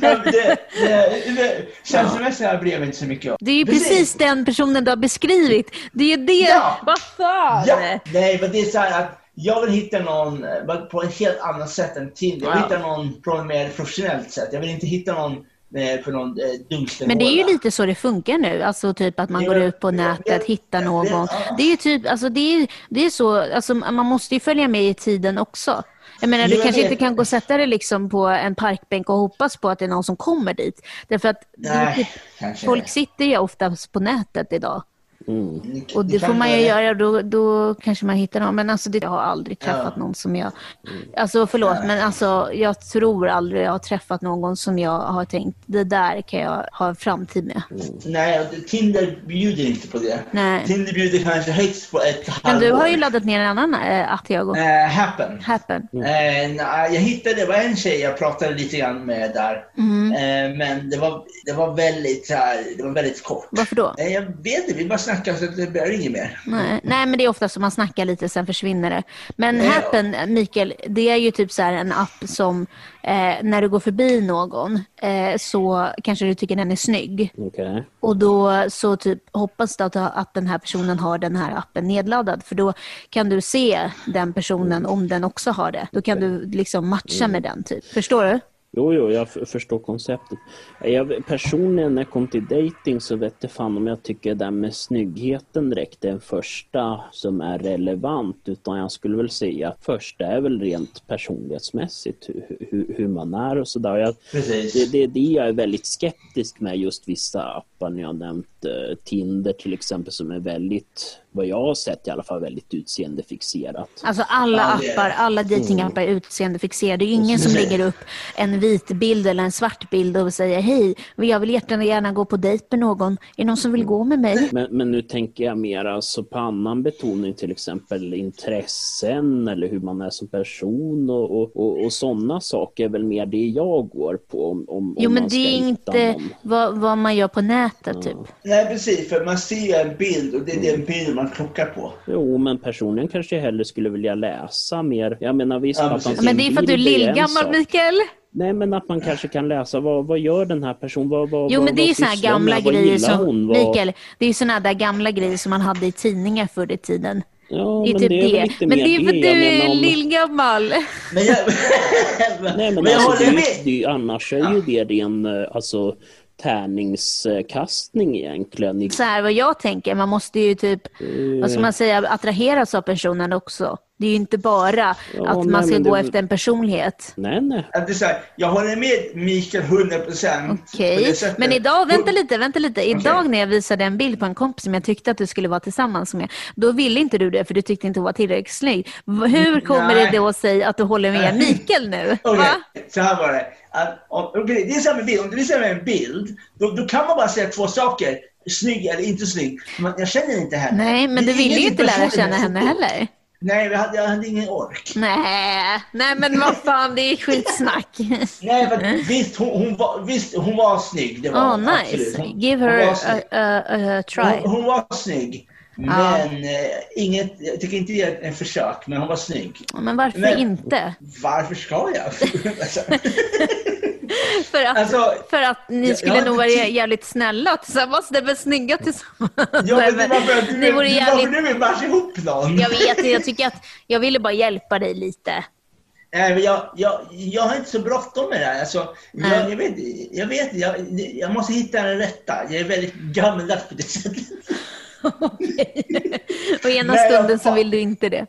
Speaker 3: men det, det, det, känslomässiga bryr jag mig inte så mycket om.
Speaker 1: Det är ju precis, den personen du har beskrivit. Det är ju det,
Speaker 3: Ja.
Speaker 1: vad fan!
Speaker 3: Ja, nej, men det är så här att jag vill hitta någon eh, på ett helt annat sätt än Tinder. Jag vill
Speaker 1: Ja.
Speaker 3: hitta någon på ett mer professionellt sätt. Jag vill inte hitta någon eh, på någon eh, dunkelmåla.
Speaker 1: Men det är ju lite så det funkar nu, alltså typ att man
Speaker 3: Ja,
Speaker 1: går ut på
Speaker 3: ja, ja,
Speaker 1: nätet, hittar
Speaker 3: ja,
Speaker 1: någon.
Speaker 3: ja.
Speaker 1: Det är ju typ, alltså det är, det är så, alltså man måste ju följa med i tiden också. Jag menar, du
Speaker 3: Jo, jag
Speaker 1: kanske inte
Speaker 3: vet.
Speaker 1: kan gå och sätta dig liksom på en parkbänk och hoppas på att det är någon som kommer dit. Därför att typ,
Speaker 3: Nej, kanske
Speaker 1: folk
Speaker 3: det.
Speaker 1: sitter ju oftast på nätet idag.
Speaker 2: Mm.
Speaker 3: Ni-
Speaker 1: Och
Speaker 3: ni
Speaker 1: det får
Speaker 3: kan
Speaker 1: man ju
Speaker 3: börja-
Speaker 1: göra, då, då kanske man hittar någon. Men alltså, det, jag har aldrig träffat
Speaker 3: Ja. Mm.
Speaker 1: någon som jag... Alltså förlåt, men alltså, jag tror aldrig jag har träffat någon som jag har tänkt, det där kan jag ha en framtid med.
Speaker 3: Nej, och Tinder bjuder inte på det.
Speaker 1: Nej.
Speaker 3: Tinder bjuder kanske högst på ett halvår.
Speaker 1: Men du har ju laddat ner en annan äh, app, Tiago.
Speaker 3: Eh, happen.
Speaker 1: Happen.
Speaker 3: Eh, nej, jag hittade, det var en tjej jag pratade lite grann med där.
Speaker 1: Mm.
Speaker 3: Eh, men det var, det var väldigt så här, det var väldigt kort.
Speaker 1: Varför då?
Speaker 3: Nej, jag vet inte, vi bara snackade så att det blir inget mer.
Speaker 1: Nej. Nej, men det är ofta som man snackar lite, sen försvinner det. Men
Speaker 3: Eh, Ja.
Speaker 1: Happen, Mikael, det är ju typ så här en app som eh, när du går förbi någon eh, så kanske du tycker den är snygg.
Speaker 2: Okej.
Speaker 1: Och då så typ hoppas du att, att den här personen har den här appen nedladdad. För då kan du se den personen om den också har det. Då kan du liksom matcha
Speaker 3: Mm.
Speaker 1: med den. typ. Förstår du?
Speaker 2: Jo, jo, jag f- förstår konceptet. Jag, personligen, när jag kom till dating så vet jag fan om jag tycker det där med snyggheten direkt är den första som är relevant. Utan jag skulle väl säga att första är väl rent personlighetsmässigt hur, hur, hur man är och sådär. Jag-
Speaker 3: Precis.
Speaker 2: Det, det är det jag är väldigt skeptisk med just vissa appar. Ni har nämnt eh, Tinder till exempel som är väldigt, vad jag har sett i alla fall, väldigt utseendefixerat.
Speaker 1: Alltså alla
Speaker 3: Ja, det är det.
Speaker 1: appar, alla
Speaker 2: Mm.
Speaker 1: datingappar är utseendefixerade. Det är ju ingen som lägger upp en vit bild eller en svart bild och säger hej, jag vill gärna, gärna gå på dejt med någon. Är det någon som vill gå med mig?
Speaker 2: Men, men nu tänker jag mer alltså på annan betoning, till exempel intressen eller hur man är som person och, och, och, och sådana saker är väl mer det jag går på. Om, om,
Speaker 1: Jo,
Speaker 2: om
Speaker 1: men
Speaker 2: man
Speaker 1: det
Speaker 2: ska
Speaker 1: är
Speaker 2: hitta
Speaker 1: inte
Speaker 2: någon.
Speaker 1: vad, vad man gör på nätet typ.
Speaker 3: Nej precis, för man ser ju en bild och det är den bilden man klockar på.
Speaker 2: Jo, men personligen kanske jag hellre skulle vilja läsa mer. Jag menar visst
Speaker 3: Ja,
Speaker 2: att man
Speaker 3: precis.
Speaker 1: Men det är för att du är
Speaker 2: bild en sak.
Speaker 1: lillgammal, Mikael.
Speaker 2: Nej, men att man kanske kan läsa vad, vad gör den här personen? Vad, vad,
Speaker 1: Jo,
Speaker 2: vad,
Speaker 1: men det är ju
Speaker 2: vad
Speaker 1: såna här
Speaker 2: sysslar hon med?
Speaker 1: gamla
Speaker 2: Vad
Speaker 1: grejer
Speaker 2: gillar
Speaker 1: som,
Speaker 2: hon? Vad-
Speaker 1: Mikael, det är ju såna där gamla grejer som man hade i tidningar förr i tiden.
Speaker 2: Ja,
Speaker 1: Det är
Speaker 2: men
Speaker 1: typ
Speaker 2: det är väl
Speaker 1: det.
Speaker 2: lite
Speaker 1: Men
Speaker 2: mer
Speaker 1: det är för att
Speaker 2: jag
Speaker 1: du är
Speaker 2: menar om-
Speaker 1: lillgammal.
Speaker 3: Men jag, men,
Speaker 2: Nej, men,
Speaker 3: jag
Speaker 2: alltså, det,
Speaker 3: håller
Speaker 2: är ju-
Speaker 3: med.
Speaker 2: det, är ju- annars är ju det ren eh, alltså, tärningskastning egentligen. I-
Speaker 1: Så här vad jag tänker, man måste ju typ,
Speaker 3: Eh.
Speaker 1: vad ska man säga, attraheras av personen också. Det är ju inte bara
Speaker 2: Ja,
Speaker 1: att man
Speaker 2: nej,
Speaker 1: ska
Speaker 2: men
Speaker 1: gå
Speaker 2: det-
Speaker 1: efter en personlighet.
Speaker 2: Nej, nej.
Speaker 3: Att det är så här, jag håller med Mikael 100%. på
Speaker 1: Okej,
Speaker 3: det sättet.
Speaker 1: men idag, vänta lite, vänta lite. Idag
Speaker 3: Okej.
Speaker 1: när jag visade en bild på en kompis som jag tyckte att du skulle vara tillsammans med, då ville inte du det för du tyckte inte hon var tillräckligt snygg. V- Hur kommer
Speaker 3: Mm, Nej.
Speaker 1: det då sig att du håller med
Speaker 3: Nej.
Speaker 1: Mikael nu?
Speaker 3: Okej,
Speaker 1: Va?
Speaker 3: så här var det. Att, om, okej, det är samma bild. Om du visar mig en bild, då, då kan man bara säga två saker. Snygg eller inte snygg. Men jag känner inte henne.
Speaker 1: Nej, men
Speaker 3: Det
Speaker 1: du
Speaker 3: är
Speaker 1: ville ju
Speaker 3: ingenting
Speaker 1: inte lära
Speaker 3: personligt
Speaker 1: känna
Speaker 3: med
Speaker 1: henne
Speaker 3: foto.
Speaker 1: heller.
Speaker 3: Nej, jag hade, jag hade ingen ork.
Speaker 1: Nej, nej men vad fan, det är skitsnack.
Speaker 3: Nej, men visst, hon, hon, var, visst, hon var snygg. Det var
Speaker 1: Oh
Speaker 3: hon, absolut.
Speaker 1: nice,
Speaker 3: Hon-
Speaker 1: give
Speaker 3: hon
Speaker 1: her
Speaker 3: var
Speaker 1: a,
Speaker 3: snygg.
Speaker 1: a, a try. Ah.
Speaker 3: Hon, hon var snygg.
Speaker 1: Ja.
Speaker 3: Men eh, inget, jag tycker inte det är ett- en försök, men hon var snygg.
Speaker 1: Men varför
Speaker 3: Men-
Speaker 1: inte?
Speaker 3: Varför ska jag? Alltså,
Speaker 1: För att,
Speaker 3: Alltså,
Speaker 1: för att ni
Speaker 3: jag-
Speaker 1: skulle
Speaker 3: jag har
Speaker 1: nog
Speaker 3: inte
Speaker 1: vara
Speaker 3: tid.
Speaker 1: jävligt snälla tillsammans. Nej, men snygga tillsammans.
Speaker 3: Ja,
Speaker 1: Nej,
Speaker 3: men det var för att du,
Speaker 1: ni vore
Speaker 3: du,
Speaker 1: jävligt...
Speaker 3: varför du vill matcha ihop någon.
Speaker 1: Jag vet, jag tycker att jag ville bara hjälpa dig lite.
Speaker 3: Nej, men jag, jag, jag har inte så bråttom med det här. Alltså,
Speaker 1: Nej.
Speaker 3: jag, jag vet, jag, vet jag, jag måste hitta den rätta. Jag är väldigt gammaldags på det sättet.
Speaker 1: Okej. Och ena
Speaker 3: Nej, jag-
Speaker 1: stunden så vill du inte det.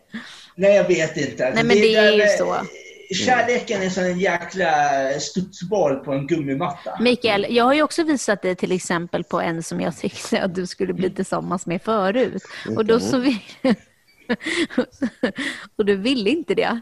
Speaker 3: Nej, jag vet inte.
Speaker 1: Nej,
Speaker 3: Alltså,
Speaker 1: men det är
Speaker 3: där
Speaker 1: ju
Speaker 3: med-
Speaker 1: så.
Speaker 3: Kärleken är som en jäkla studsboll på en gummimatta.
Speaker 1: Mikael, jag har ju också visat dig till exempel på en som jag tyckte att du skulle bli tillsammans med förut. Och
Speaker 3: Mm.
Speaker 1: då så vill... Och du ville inte det.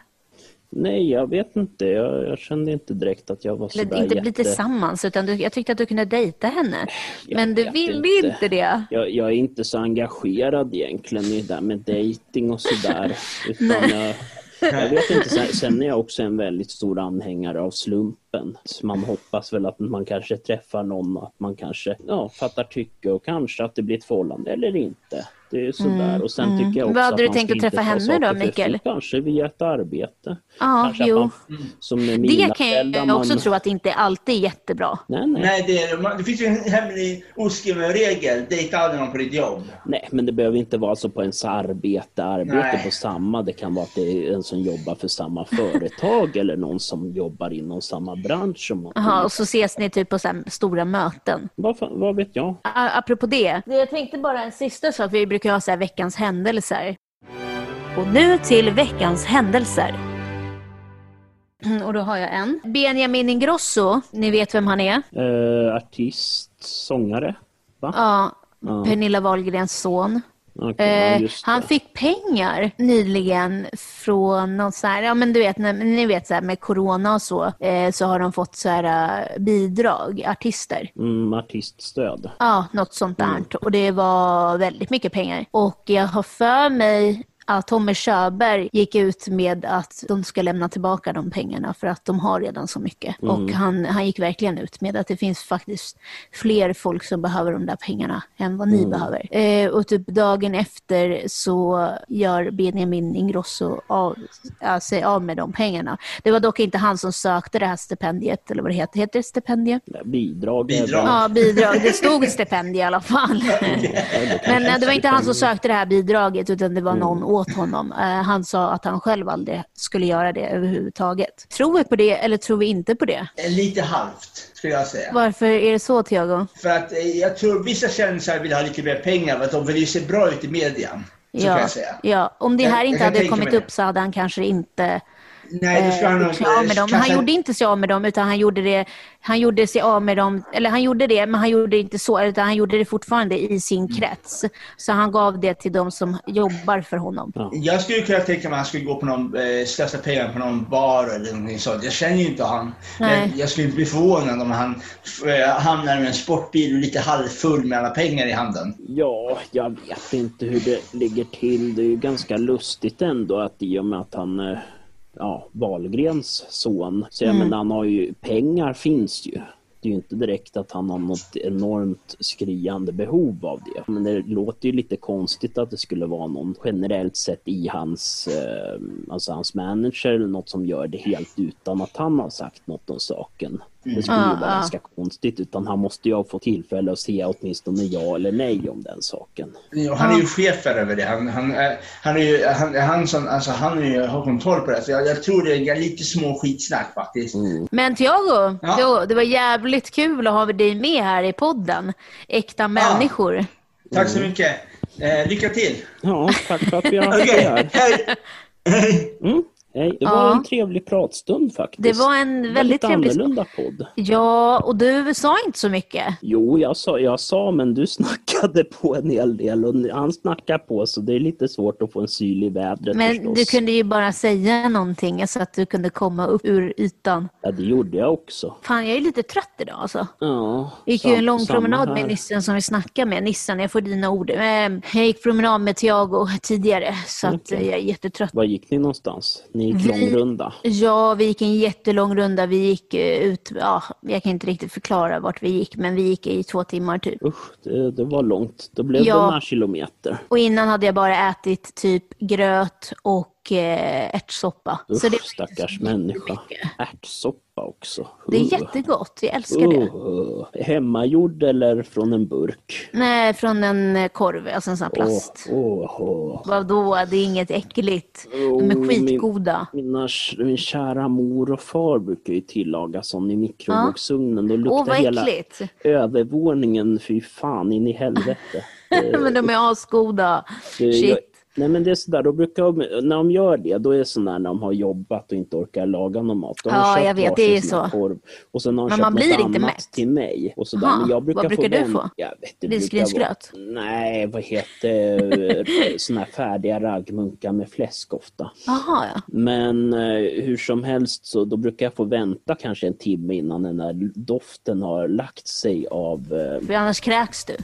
Speaker 2: Nej, jag vet inte. Jag, jag kände inte direkt att jag var så
Speaker 1: Eller
Speaker 2: där
Speaker 1: inte
Speaker 2: jätte... Eh,
Speaker 1: bli tillsammans, utan du, jag tyckte att du kunde dejta henne.
Speaker 2: Jag
Speaker 1: Men du
Speaker 2: vet
Speaker 1: ville
Speaker 2: inte.
Speaker 1: inte. det.
Speaker 2: Jag, jag är inte så engagerad egentligen i det där med dating och sådär. Utan jag, jag vet inte. Sen, sen är jag också en väldigt stor anhängare av slumpen. Så man hoppas väl att man kanske träffar någon, att man kanske ja, fattar tycke och kanske att det blir ett förhållande eller inte. Det är sådär. och sen tycker jag också
Speaker 1: Mm, Vad hade
Speaker 2: att
Speaker 1: du
Speaker 2: man
Speaker 1: tänkt
Speaker 2: ska
Speaker 1: att träffa
Speaker 2: inte ta
Speaker 1: henne då,
Speaker 2: saker för
Speaker 1: Mikael?
Speaker 2: fort, Kanske via ett arbete.
Speaker 1: Ja,
Speaker 2: kanske att
Speaker 1: jo.
Speaker 2: man- som med mina
Speaker 1: Det kan
Speaker 2: föräldrar,
Speaker 1: jag också
Speaker 2: man-
Speaker 1: tro att inte alltid är jättebra.
Speaker 2: Nej, nej.
Speaker 3: Nej, det, är, man- det finns ju en hemlig oskriven regel. Dejta aldrig någon på ditt jobb.
Speaker 2: Nej, men det behöver inte vara så på ens arbete, arbete
Speaker 3: Nej.
Speaker 2: på samma. Det kan vara att det är en som jobbar för samma företag eller någon som jobbar inom samma bransch. Som man-
Speaker 1: Jaha, och så ses ni typ på så här stora möten.
Speaker 2: vad, fan, vad vet jag?
Speaker 1: A- apropå det, jag tänkte bara en sista sak. Vi brukar ha så här veckans händelser. Och nu till veckans händelser. Mm, Och då har jag en. Benjamin Ingrosso, ni vet vem han är?
Speaker 2: Eh, artist, sångare? Va?
Speaker 1: Ja,
Speaker 2: Ja.
Speaker 1: Pernilla Wahlgrens son.
Speaker 2: Okej, ja,
Speaker 1: Eh,
Speaker 2: just
Speaker 1: han
Speaker 2: det.
Speaker 1: fick pengar nyligen från någon så här, ja men du vet, när, ni vet så här med corona och så, eh, så har de fått så här eh, bidrag, artister.
Speaker 2: Mm, artiststöd.
Speaker 1: Ja, något sånt där. Och det var väldigt mycket pengar. Och jag har för mig att Tommy Körberg gick ut med att de ska lämna tillbaka de pengarna för att de har redan så mycket. Och han, han gick verkligen ut med att det finns faktiskt fler folk som behöver de där pengarna än vad ni behöver. Eh, och typ dagen efter så gör Benjamin Ingrosso av, äh, sig av med de pengarna. Det var dock inte han som sökte det här stipendiet, eller vad det heter. Heter det stipendiet?
Speaker 2: Bidrag. är
Speaker 3: Bidrag.
Speaker 2: väl-
Speaker 1: Ja, bidrag. Det stod stipendie i alla fall. Men eh, det var inte han som sökte det här bidraget, utan det
Speaker 3: Mm.
Speaker 1: var någon åt honom. Eh, Han sa att han själv aldrig skulle göra det överhuvudtaget. Tror vi på det eller tror vi inte på det?
Speaker 3: Eh, Lite halvt, skulle jag säga.
Speaker 1: Varför är det så, Tiago?
Speaker 3: För att eh, jag tror vissa kändisar vill ha lite mer pengar för att de vill ju se bra ut i media. Så kan
Speaker 1: Ja,
Speaker 3: jag säga.
Speaker 1: ja, om det
Speaker 3: Jag-
Speaker 1: här
Speaker 3: jag
Speaker 1: inte
Speaker 3: kan
Speaker 1: hade
Speaker 3: tänka
Speaker 1: kommit
Speaker 3: mig det.
Speaker 1: upp så hade han kanske inte
Speaker 3: Nej, då skulle han
Speaker 1: eh,
Speaker 3: nog
Speaker 1: gjort sig av med dem. Men han
Speaker 3: kasta-
Speaker 1: gjorde inte sig av med dem, utan han gjorde, det, han gjorde sig av med dem, eller han gjorde det, men han gjorde inte så, utan han gjorde det fortfarande i sin krets. Så han gav det till de som jobbar för honom.
Speaker 2: Ja.
Speaker 3: Jag skulle kunna tänka mig att han skulle gå på någon, eh, slösa pengar på någon bar eller någonting sånt. Jag känner ju inte han.
Speaker 1: Nej.
Speaker 3: Men jag skulle inte bli förvånad om han eh, hamnar med en sportbil lite halvfull med alla pengar i handen.
Speaker 2: Ja, jag vet inte hur det ligger till. Det är ju ganska lustigt ändå att i och med att han eh, ja, Wahlgrens son, så jag
Speaker 1: Mm.
Speaker 2: menar han har ju, pengar finns ju. Det är ju inte direkt att han har något enormt skriande behov av det. Men det låter ju lite konstigt att det skulle vara någon generellt sett i hans, eh, alltså hans manager eller något som gör det helt utan att han har sagt något om saken. Det skulle
Speaker 1: Ja,
Speaker 2: ju vara
Speaker 1: ja.
Speaker 2: ganska konstigt utan han måste ju ha fått tillfälle att se åtminstone ja eller nej om den saken.
Speaker 3: Ja, Han är ju chef här över det. Han, han, eh, han, är ju, han, han, som, alltså, han är ju, har kontroll på det. Så jag, jag tror det är lite små skitsnack faktiskt.
Speaker 1: Men Tiago,
Speaker 3: Ja.
Speaker 1: jo, det var jävligt kul att ha dig med här i podden. Äkta människor.
Speaker 3: Tack så mycket. Eh, lycka till.
Speaker 2: Ja, tack för att vi har haft det
Speaker 3: Okej,
Speaker 2: här.
Speaker 3: hej. hej.
Speaker 2: Mm. Nej, det var
Speaker 1: Ja.
Speaker 2: en trevlig pratstund faktiskt.
Speaker 1: Det var en väldigt trevlig-
Speaker 2: annorlunda podd.
Speaker 1: Ja, och du sa inte så mycket.
Speaker 2: Jo, jag sa, jag sa, men du snackade på en hel del och han snackar på så det är lite svårt att få en syl i vädret
Speaker 1: Men
Speaker 2: förstås.
Speaker 1: du kunde ju bara säga någonting så att du kunde komma upp ur ytan.
Speaker 2: Ja, det gjorde jag också.
Speaker 1: Fan, jag är lite trött idag alltså.
Speaker 2: Ja,
Speaker 1: Jag gick
Speaker 2: sam-
Speaker 1: ju en lång
Speaker 2: samma
Speaker 1: promenad med
Speaker 2: här.
Speaker 1: Nissen som vi snackade med. Nissan, jag får dina ord. Eh, Jag gick promenad med Tiago tidigare så att eh, jag är jättetrött.
Speaker 2: Var gick ni någonstans? Ni gick
Speaker 1: Vi-
Speaker 2: långrunda.
Speaker 1: Ja, vi gick en jättelång runda. Vi gick eh, ut, ja, jag kan inte riktigt förklara vart vi gick, men vi gick i två timmar typ.
Speaker 2: Usch, det, det var långt. Då blev det
Speaker 1: Ja.
Speaker 2: några kilometer.
Speaker 1: Och innan hade jag bara ätit typ gröt och och eh, ärtsoppa.
Speaker 2: Usch,
Speaker 1: Så det var inte så
Speaker 2: stackars
Speaker 1: mycket.
Speaker 2: människa. Ärtsoppa också.
Speaker 1: Det
Speaker 2: Uh,
Speaker 1: är jättegott, jag älskar det.
Speaker 2: uh. Hemmagjord eller från en burk?
Speaker 1: Nej, från en eh, korv, alltså en sån här plast.
Speaker 2: Åh, åh, åh.
Speaker 1: Vadå, det är inget äckligt. De
Speaker 2: Jo,
Speaker 1: är
Speaker 2: Oh, min-
Speaker 1: skitgoda.
Speaker 2: Mina, min kära mor och far brukar ju tillaga sån i mikrovågsugnen. Då
Speaker 1: Åh,
Speaker 2: luktar
Speaker 1: vad
Speaker 2: hela
Speaker 1: äckligt.
Speaker 2: övervåningen fy fan in i helvete. Eh,
Speaker 1: Men de är asgoda.
Speaker 2: det- jag-
Speaker 1: Shit.
Speaker 2: Nej men det är sådär, då brukar de, när de gör det, då är det sådär när de har jobbat och inte orkar laga någon mat. Då har de
Speaker 1: Ja,
Speaker 2: köpt
Speaker 1: jag vet,
Speaker 2: varsin
Speaker 1: det är
Speaker 2: sån här
Speaker 1: så.
Speaker 2: Korv, och sen har de
Speaker 1: Men
Speaker 2: köpt
Speaker 1: man
Speaker 2: något
Speaker 1: blir inte
Speaker 2: annat
Speaker 1: mätt.
Speaker 2: till mig. Och sådär.
Speaker 1: Aha,
Speaker 2: Men jag brukar
Speaker 1: vad brukar du
Speaker 2: vän-
Speaker 1: få?
Speaker 2: Jag vet, det
Speaker 1: Risgrynsgröt?
Speaker 2: brukar vara- Nej, vad heter sådana här färdiga raggmunkar med fläsk ofta.
Speaker 1: Jaha, ja.
Speaker 2: Men eh, hur som helst så då brukar jag få vänta kanske en timme innan den där doften har lagt sig av... Eh,
Speaker 1: För annars kräks du.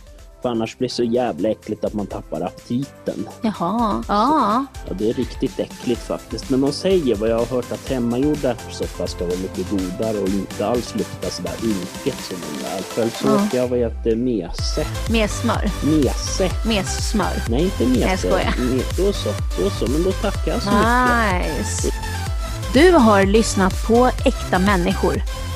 Speaker 2: för annars blir det så jävla äckligt att man tappar aptiten.
Speaker 1: Jaha. Ja.
Speaker 2: Ja, det är riktigt äckligt faktiskt. Men de säger vad jag har hört att hemmagjord ärtsoppa ska vara mycket godare och inte alls lukta sådär unket som den där. Själv så
Speaker 1: Ja.
Speaker 2: åt jag vad heter mese.
Speaker 1: Med smör.
Speaker 2: Mese.
Speaker 1: Med smör.
Speaker 2: Nej, inte mese.
Speaker 1: jag skojar.
Speaker 2: Me- Då så, då så. Men då tackar jag så mycket.
Speaker 1: Nice. Du har lyssnat på Äkta människor.